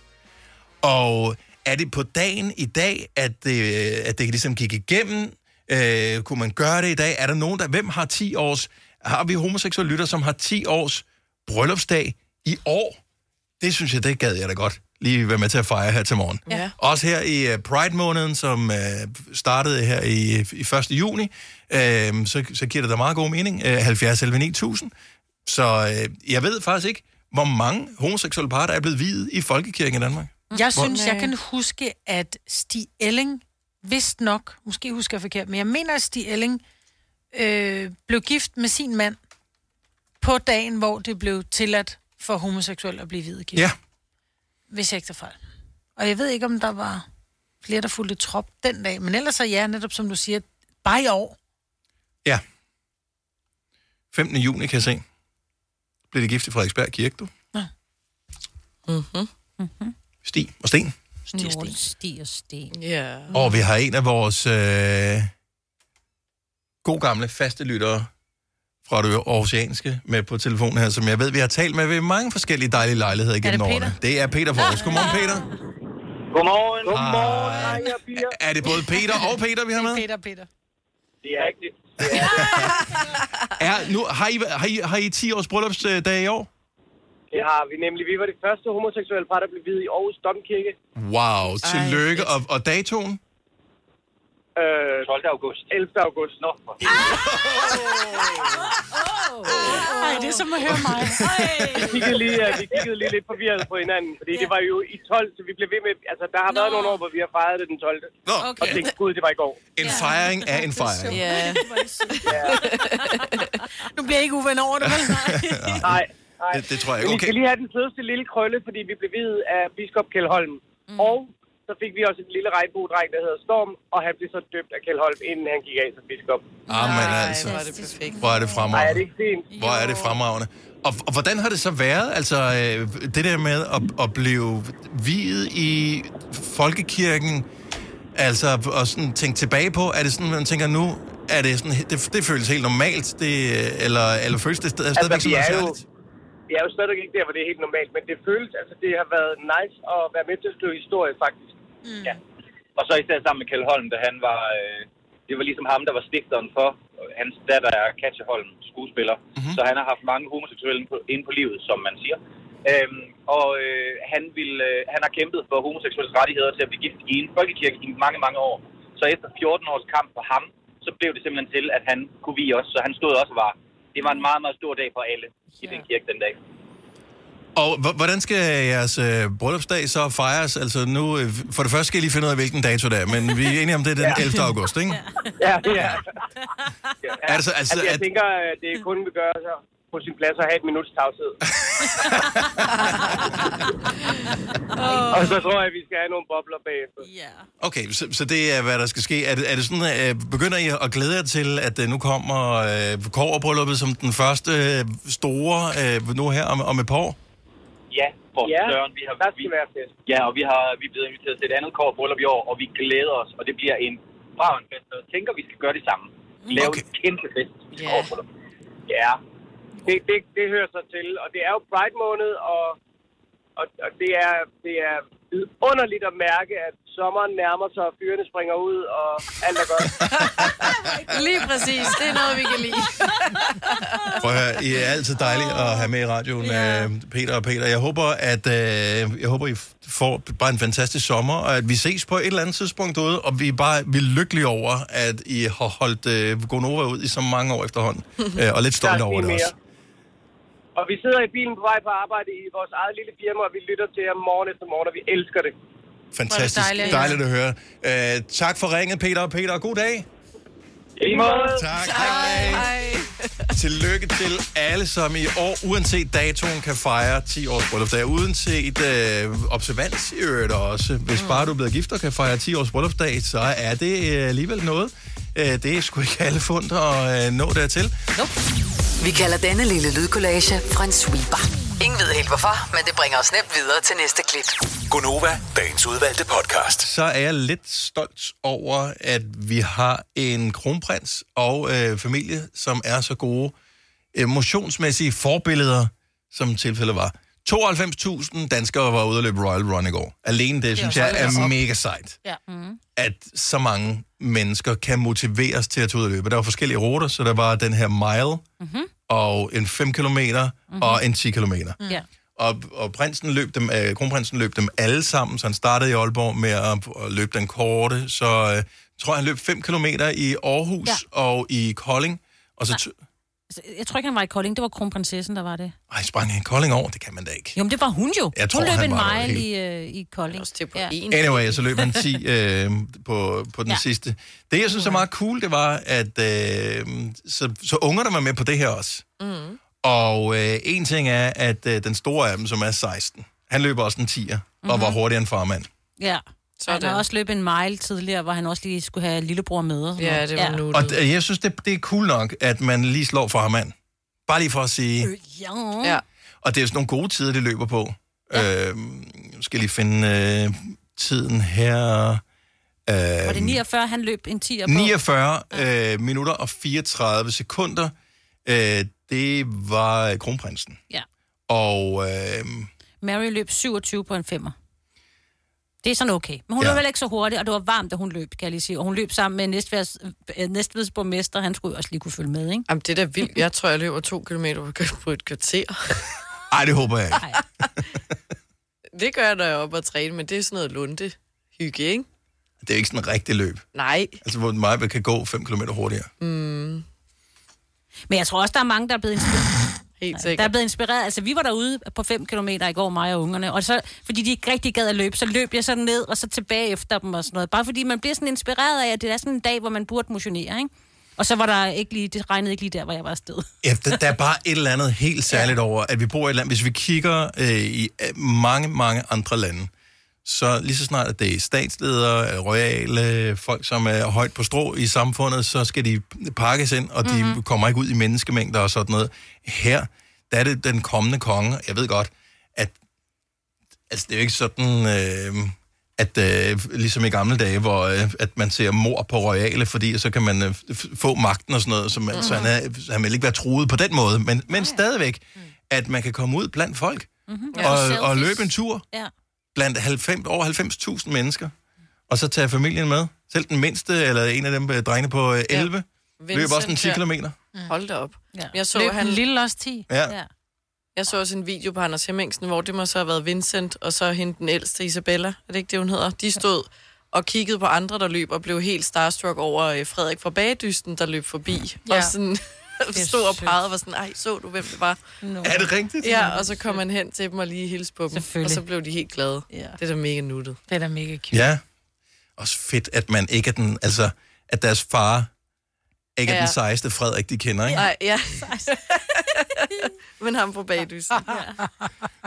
Speaker 1: Og er det på dagen i dag, at det, at det ligesom gik igennem? Øh, kunne man gøre det i dag? Er der nogen, der... Hvem har 10 års... Har vi homoseksuelle lytter, som har 10 års bryllupsdag i år? Det synes jeg, det gad jeg da godt lige være med til at fejre her til morgen.
Speaker 20: Ja.
Speaker 1: Også her i uh, Pride-måneden, som uh, startede her i, i 1. juni, uh, så, så giver det da meget god mening. Uh, 70 11 9000. Så uh, jeg ved faktisk ikke, hvor mange homoseksuelle par, der er blevet videt i Folkekirken i Danmark.
Speaker 4: Mm. jeg
Speaker 1: Hvor-
Speaker 4: synes, jeg kan huske, at Stig Elling, vist nok, måske husker jeg forkert, men jeg mener, at Stig Elling øh, blev gift med sin mand på dagen, hvor det blev tilladt for homoseksuelle at blive videregift.
Speaker 1: Ja.
Speaker 4: Hvis jeg ikke tager fejl. Og jeg ved ikke, om der var flere, der fulgte trop den dag, men ellers er ja, netop som du siger, bare i år.
Speaker 1: Ja. 15. juni, kan jeg se. Blev det gift i Frederiksberg Kirke, du?
Speaker 3: Mm-hmm.
Speaker 1: Stig og Sten.
Speaker 5: Stig og sten. Stig Mhm. og sten.
Speaker 3: Ja.
Speaker 1: Og vi har en af vores øh, god gamle faste lyttere fra det oceanske med på telefonen her, som jeg ved, vi har talt med ved mange forskellige dejlige lejligheder igennem
Speaker 21: Peter?
Speaker 1: årene. Det er Peter for os. Godmorgen, Peter.
Speaker 21: Godmorgen.
Speaker 1: Godmorgen, Er det både Peter og Peter, vi har med?
Speaker 4: Peter, Peter.
Speaker 21: Det er rigtigt.
Speaker 1: Er, nu, har, I, har, I, har I 10 års bryllupsdag i år?
Speaker 21: Det har vi nemlig. Vi var det første homoseksuelle par, der blev videt i Aarhus Domkirke.
Speaker 1: Wow, tillykke. og, og datoen?
Speaker 21: Øh, 12. august. 11. august. Nå, for
Speaker 4: Nej, det er som at høre mig.
Speaker 21: vi kiggede, lige, øh, vi kiggede lige lidt forvirret på hinanden, fordi det var jo i 12, så vi blev ved med... Altså, der har været nogle år, hvor vi har fejret det den 12.
Speaker 1: Nå.
Speaker 21: Og tænkte, gud, det var i går.
Speaker 1: En fejring af en fejring.
Speaker 3: Ja.
Speaker 4: nu bliver jeg ikke uven over det, vel?
Speaker 21: Nej.
Speaker 1: Det, det tror jeg
Speaker 21: Men
Speaker 1: ikke.
Speaker 21: vi skal
Speaker 1: Okay.
Speaker 21: lige have den fedeste lille krølle, fordi vi blev videt af biskop Kjell Holm. Mm. Og så fik vi også en lille regnbuedreng, der hedder Storm, og han blev så døbt af Kjeld Holm, inden han gik af som biskop.
Speaker 1: Amen, altså.
Speaker 21: hvor er det perfekt.
Speaker 1: Hvor er det
Speaker 21: Ej, er
Speaker 1: fremragende.
Speaker 21: det ikke fint?
Speaker 1: Hvor er det fremragende. Og, og hvordan har det så været, altså øh, det der med at, at blive viet i folkekirken, altså og sådan tænke tilbage på, er det sådan, man tænker nu, er det sådan, det, det føles helt normalt, det, øh, eller, eller føles det stadig, stadigvæk
Speaker 21: Altså, vi
Speaker 1: sådan noget
Speaker 21: er jo,
Speaker 1: særligt?
Speaker 21: vi er jo stadigvæk ikke der, hvor det er helt normalt, men det føles, altså det har været nice at være med til at skrive historie, faktisk.
Speaker 4: Mm.
Speaker 21: Ja.
Speaker 22: Og så især sammen med Kjeld Holm, da han var... Øh, det var ligesom ham, der var stifteren for. øh, Hans datter er Katja Holm, skuespiller. Mm-hmm. Så han har haft mange homoseksuelle inde på, inde på livet, som man siger. Øhm, og øh, han, vil, øh, han har kæmpet for homoseksuelle rettigheder til at blive gift i en folkekirke i mange, mange år. Så efter 14 års kamp for ham, så blev det simpelthen til, at han kunne vi også. Så han stod også og var... Det var en meget, meget stor dag for alle i den kirke den dag.
Speaker 1: Og h- hvordan skal jeres øh, bryllupsdag så fejres? Altså nu, øh, for det første skal I lige finde ud af, hvilken dato det er, men vi er enige om, det er den 11. august, ikke?
Speaker 21: Ja, ja. ja.
Speaker 1: Altså- altså,
Speaker 21: jeg
Speaker 1: at-
Speaker 21: tænker, at det kun vil gøre sig på sin plads at have et minuts tavshed. og så tror jeg, at vi skal have nogle bobler bagefter.
Speaker 4: Ja.
Speaker 1: Okay, så, så det er, hvad der skal ske. Er det, er det sådan, øh, begynder I at glæde jer til, at øh, nu kommer øh, koverbrylluppet som den første øh, store, øh, nu her om, om et par år?
Speaker 22: Ja, for
Speaker 21: Ja,
Speaker 22: ja, Søren. Vi har,
Speaker 21: der
Speaker 22: vi,
Speaker 21: skal være fest.
Speaker 22: Ja, og vi har vi er blevet inviteret til et andet kår bryllup i år, og vi glæder os, og det bliver en braven fest. og Jeg tænker, vi skal gøre det sammen. Lave okay. en kæmpe fest til yeah.
Speaker 21: Ja. Det, det, det hører sig til, og det er jo Pride måned, og, og, og det, er, det er underligt at mærke, at sommeren nærmer sig, og fyrene springer ud, og alt er godt.
Speaker 3: Lige præcis. Det er noget, vi kan lide.
Speaker 1: Prøv at høre, I er altid dejlige at have med i radioen, ja. Peter og Peter. Jeg håber, at øh, jeg håber, I f- får bare en fantastisk sommer, og at vi ses på et eller andet tidspunkt derude, og vi er bare vi er lykkelige over, at I har holdt øh, Gonova ud i så mange år efterhånden, øh, og lidt stolte
Speaker 21: Der er
Speaker 1: over
Speaker 21: en
Speaker 1: det
Speaker 21: mere.
Speaker 1: også.
Speaker 21: Og vi sidder i bilen på vej på arbejde i vores eget lille firma, og vi lytter til jer morgen efter morgen, og vi elsker det.
Speaker 1: Fantastisk.
Speaker 21: dejligt.
Speaker 1: Dejligt, dejligt at høre. Øh, tak for ringet, Peter og Peter. God dag. I måde. Tak. Hej. Tillykke til alle, som i år, uanset datoen, kan fejre 10 års bryllupsdag. Uanset øh, observans i øvrigt også. Hvis bare du er blevet gift og kan fejre 10 års bryllupsdag, så er det øh, alligevel noget. Øh, det er sgu ikke alle fundet at øh, nå dertil.
Speaker 2: Vi kalder denne lille lydkollage en sweeper. Ingen ved helt hvorfor, men det bringer os nemt videre til næste klip.
Speaker 6: Gunova, dagens udvalgte podcast.
Speaker 1: Så er jeg lidt stolt over, at vi har en kronprins og øh, familie, som er så gode øh, motionsmæssige forbilleder, som tilfældet var. 92.000 danskere var ude at løbe Royal Run i går. Alene det, det synes jeg er mega sejt
Speaker 5: Ja. Mm.
Speaker 1: at så mange mennesker kan motiveres til at tage ud og løbe. Der var forskellige ruter, så der var den her mile,
Speaker 5: Mm-hmm.
Speaker 1: og en 5 km
Speaker 5: Mhm.
Speaker 1: og en 10 km.
Speaker 5: Ja.
Speaker 1: Og, og prinsen løb dem, øh, kronprinsen løb dem alle sammen, så han startede i Aalborg med at, at løbe den korte, så øh, tror jeg, han løb 5 km i Aarhus
Speaker 5: Ja.
Speaker 1: ja. og i Kolding, og så t-
Speaker 5: Altså, Jeg tror ikke, han var i Kolding. Det var kronprinsessen, der var det.
Speaker 1: Ej, sprang han Kolding over, det kan man da ikke.
Speaker 5: Jo, men det var hun jo.
Speaker 1: Jeg tror,
Speaker 5: hun løb
Speaker 1: han
Speaker 5: en
Speaker 1: var der
Speaker 5: mile
Speaker 1: helt-
Speaker 5: i, øh, i Kolding. Også
Speaker 3: det på
Speaker 5: ja.
Speaker 1: Anyway, så løb han 10 øh, på, på den ja. sidste. Det, jeg synes er meget cool, det var, at øh, så, så ungerne var med på det her også.
Speaker 7: Mm.
Speaker 1: Og øh, en ting er, at øh, den store af dem, som er 16, han løber også en 10'er, mm-hmm. og var
Speaker 5: Mhm.
Speaker 1: hurtigere end farmand.
Speaker 5: Ja. Så han
Speaker 3: Sådan.
Speaker 5: har også løbet en mile tidligere, hvor han også lige skulle have lillebror med. og sådan noget.
Speaker 1: Og øh, d- jeg synes, det, det er cool nok, at man lige slår farmand. Bare lige for at sige...
Speaker 5: Ja.
Speaker 3: ja.
Speaker 1: Og det er jo sådan nogle gode tider, det løber på. Ja. Øh, nu skal jeg lige finde øh, tiden her. Øh,
Speaker 5: Var det 49, han løb en 10'er på?
Speaker 1: 49 øh, minutter og 34 sekunder. Øh, det var kronprinsen.
Speaker 5: Ja.
Speaker 1: Og øh,
Speaker 5: Mary løb 27 på en femmer. Det er sådan okay. Men hun
Speaker 1: Ja.
Speaker 5: ja. løb heller ikke så hurtigt, og det var varmt, da hun løb, kan jeg lige sige. Og hun løb sammen med Næstværs, øh, Næstveds borgmester. Han skulle jo også lige kunne følge med, ikke?
Speaker 3: Jamen, det er da vildt. Jeg tror, jeg løber to kilometer på- på et kvarter.
Speaker 1: ej, det håber jeg ikke.
Speaker 3: Det gør jeg, når jeg er oppe og træne, men det er sådan noget lunde hygge, ikke?
Speaker 1: Det er jo ikke sådan en rigtig løb.
Speaker 3: Nej.
Speaker 1: Altså, hvor mig kan gå 5 km hurtigere.
Speaker 5: Mm. Men jeg tror også, der er mange, der er blevet inspireret.
Speaker 3: Helt
Speaker 5: der er blevet inspireret. Altså, vi var derude på 5 km i går, mig og ungerne. Og så, fordi de ikke rigtig gad at løbe, så løb jeg sådan ned, og så tilbage efter dem og sådan noget. Bare fordi man bliver sådan inspireret af, at det er sådan en dag, hvor man burde motionere, ikke? Og så var der ikke lige, det regnede ikke lige der, hvor jeg var afsted.
Speaker 1: Ja, der, der er bare et eller andet helt særligt ja. over, at vi bor i et land. Hvis vi kigger øh, i øh, mange, mange andre lande, så lige så snart at det er statsledere, øh, royale, folk, som er højt på strå i samfundet, så skal de pakkes ind, og de mm-hmm. kommer ikke ud i menneskemængder og sådan noget. Her, der er det den kommende konge. Jeg ved godt, at altså, det er jo ikke sådan... Øh, at øh, ligesom i gamle dage, hvor øh, at man ser mor på royale, fordi så kan man øh, f- få magten og sådan noget, så, man, mm. så han, er, han vil ikke være truet på den måde, men, men stadigvæk, at man kan komme ud blandt folk
Speaker 4: Mhm.
Speaker 5: Mm-hmm.
Speaker 1: og, og løbe en tur
Speaker 5: Ja.
Speaker 1: blandt 90, over 90.000 mennesker, og så tage familien med. Selv den mindste, eller en af dem øh, drengene på øh, 11, ja. løb også en 10
Speaker 3: ja.
Speaker 1: kilometer.
Speaker 3: Mm. Hold da op.
Speaker 5: Ja.
Speaker 3: Jeg så,
Speaker 4: Løb
Speaker 3: han...
Speaker 4: den lille også 10.
Speaker 1: Ja. Ja.
Speaker 3: Jeg så også en video på Anders Hemmingsen, hvor det må så have været Vincent, og så hende den ældste Isabella, er det ikke det, hun hedder? De stod og kiggede på andre, der løb, og blev helt starstruck over øh, Frederik fra Bagedysten, der løb forbi. Ja. Og
Speaker 5: Ja.
Speaker 3: sådan
Speaker 5: er
Speaker 3: stod og
Speaker 5: sødt.
Speaker 3: pegede og var sådan, ej, så du, hvem det var? No.
Speaker 1: Er det rigtigt?
Speaker 3: Ja, og så kom man hen til dem og lige hilste på dem, og så blev de helt glade. Ja. Det er da mega nuttet.
Speaker 4: Det er da mega cute.
Speaker 1: Ja. Også fedt, at man ikke er den, altså, at deres far ikke ja. er
Speaker 3: Ja.
Speaker 1: den sejeste Frederik, de kender, ikke?
Speaker 3: Nej, ja. Men ham på Bagedysten. Ja.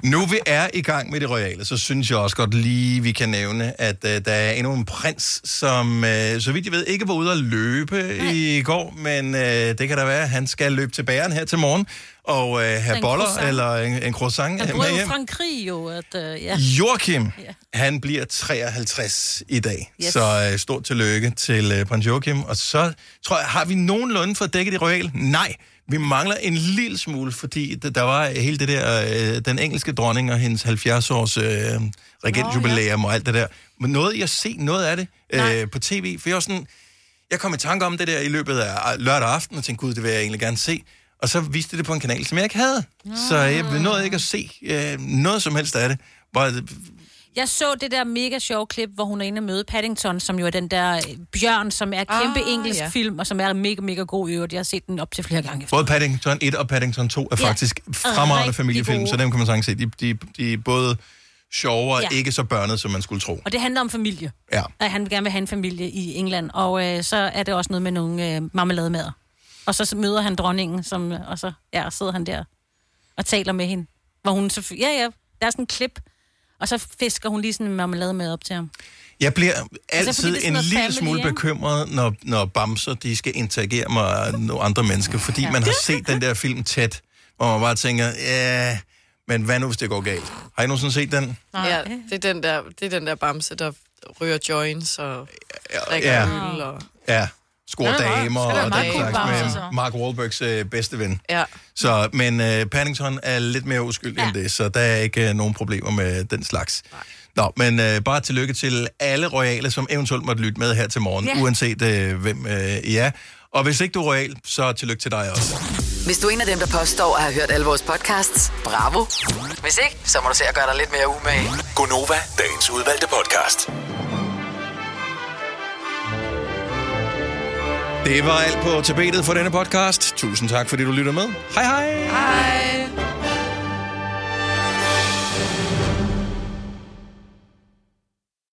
Speaker 1: Nu vi er i gang med det royale, så synes jeg også godt lige, vi kan nævne, at øh, der er endnu en prins, som øh, så vidt jeg ved ikke var ude at løbe Nej. i går, men øh, det kan da være, at han skal løbe til bæren her til morgen og øh, have
Speaker 5: En
Speaker 1: boller
Speaker 5: croissant.
Speaker 1: eller en, en croissant
Speaker 5: Han
Speaker 1: øh,
Speaker 5: boede
Speaker 1: med
Speaker 5: jo i
Speaker 1: hjem.
Speaker 5: Frankrig jo, at... Øh, ja.
Speaker 1: Joachim, han bliver 53 i dag,
Speaker 5: Yes.
Speaker 1: så øh, stort tillykke til øh, prins Joachim. Og så tror jeg, har vi nogenlunde fået dækket i royal? Nej, vi mangler en lille smule, fordi d- der var hele det der, øh, den engelske dronning og hendes 70-års øh, regentjubilæum og alt det der. Men noget, jeg se noget af det øh, på tv, for jeg var sådan, jeg kom i tanke om det der i løbet af øh, lørdag aften, og tænkte, gud, det vil jeg egentlig gerne se. Og så viste det på en kanal, som jeg ikke havde. Så jeg nåede ikke at se øh, noget som helst af det. Bare,
Speaker 5: Jeg så det der mega sjove klip, hvor hun er inde og møde Paddington, som jo er den der øh, bjørn, som er kæmpe
Speaker 3: Ah,
Speaker 5: ah, engelsk
Speaker 3: ja.
Speaker 5: ja. film, og som er mega, mega god i øvrigt. Jeg har set den op til flere gange.
Speaker 1: både Paddington 1 og Paddington 2 er
Speaker 5: Ja.
Speaker 1: faktisk
Speaker 5: Og
Speaker 1: fremragende
Speaker 5: rigtig
Speaker 1: familiefilm,
Speaker 5: gode.
Speaker 1: så dem kan man sagtens se. De, de, de er både sjovere, ja.
Speaker 5: Ja.
Speaker 1: ikke så børnet, som man skulle tro.
Speaker 5: Og det handler om familie.
Speaker 1: Ja.
Speaker 5: At han gerne vil have en familie i England. Og øh, så er det også noget med nogle øh, marmelademader. Og så møder han dronningen, som, og så ja, sidder han der og taler med hende. Hvor hun så, ja, ja, der er sådan en klip. Og så fisker hun lige sådan en marmelademad op til ham.
Speaker 1: Jeg bliver
Speaker 5: Altså, er sådan
Speaker 1: altid en
Speaker 5: noget
Speaker 1: lille
Speaker 5: family,
Speaker 1: smule
Speaker 5: ikke?
Speaker 1: bekymret, når, når bamser de skal interagere med nogle andre mennesker, fordi ja. man har set den der film tæt, hvor man bare tænker, ja, men hvad nu, hvis det går galt? Har I nogensinde set den?
Speaker 3: Ja, det er den der, det er den der bamse, der ryger joints og drikker
Speaker 1: ja.
Speaker 3: øl. Og...
Speaker 1: Ja, score
Speaker 3: Den er meget-
Speaker 1: damer
Speaker 3: den er
Speaker 1: og
Speaker 3: meget
Speaker 1: den
Speaker 3: cool,
Speaker 1: slags
Speaker 3: Bamse,
Speaker 1: med
Speaker 3: så.
Speaker 1: Mark Wahlbergs øh, bedste ven.
Speaker 3: Ja.
Speaker 1: Så, men øh, Paddington er lidt mere uskyldig ja. end det, så der er ikke øh, nogen problemer med den slags. Nå, men øh, bare tillykke til alle royale, som eventuelt måtte lytte med her til morgen,
Speaker 2: Ja.
Speaker 1: uanset øh, hvem øh, I er. Og hvis ikke du er royal, så tillykke til dig også.
Speaker 2: Hvis du er en af dem, der påstår at have hørt alle vores podcasts, bravo. Hvis ikke, så må du se at gøre dig lidt mere umage.
Speaker 6: Gonova, dagens udvalgte podcast.
Speaker 1: Det var alt på tapetet for denne podcast. Tusind tak, fordi du lytter med. Hej hej!
Speaker 3: Hej.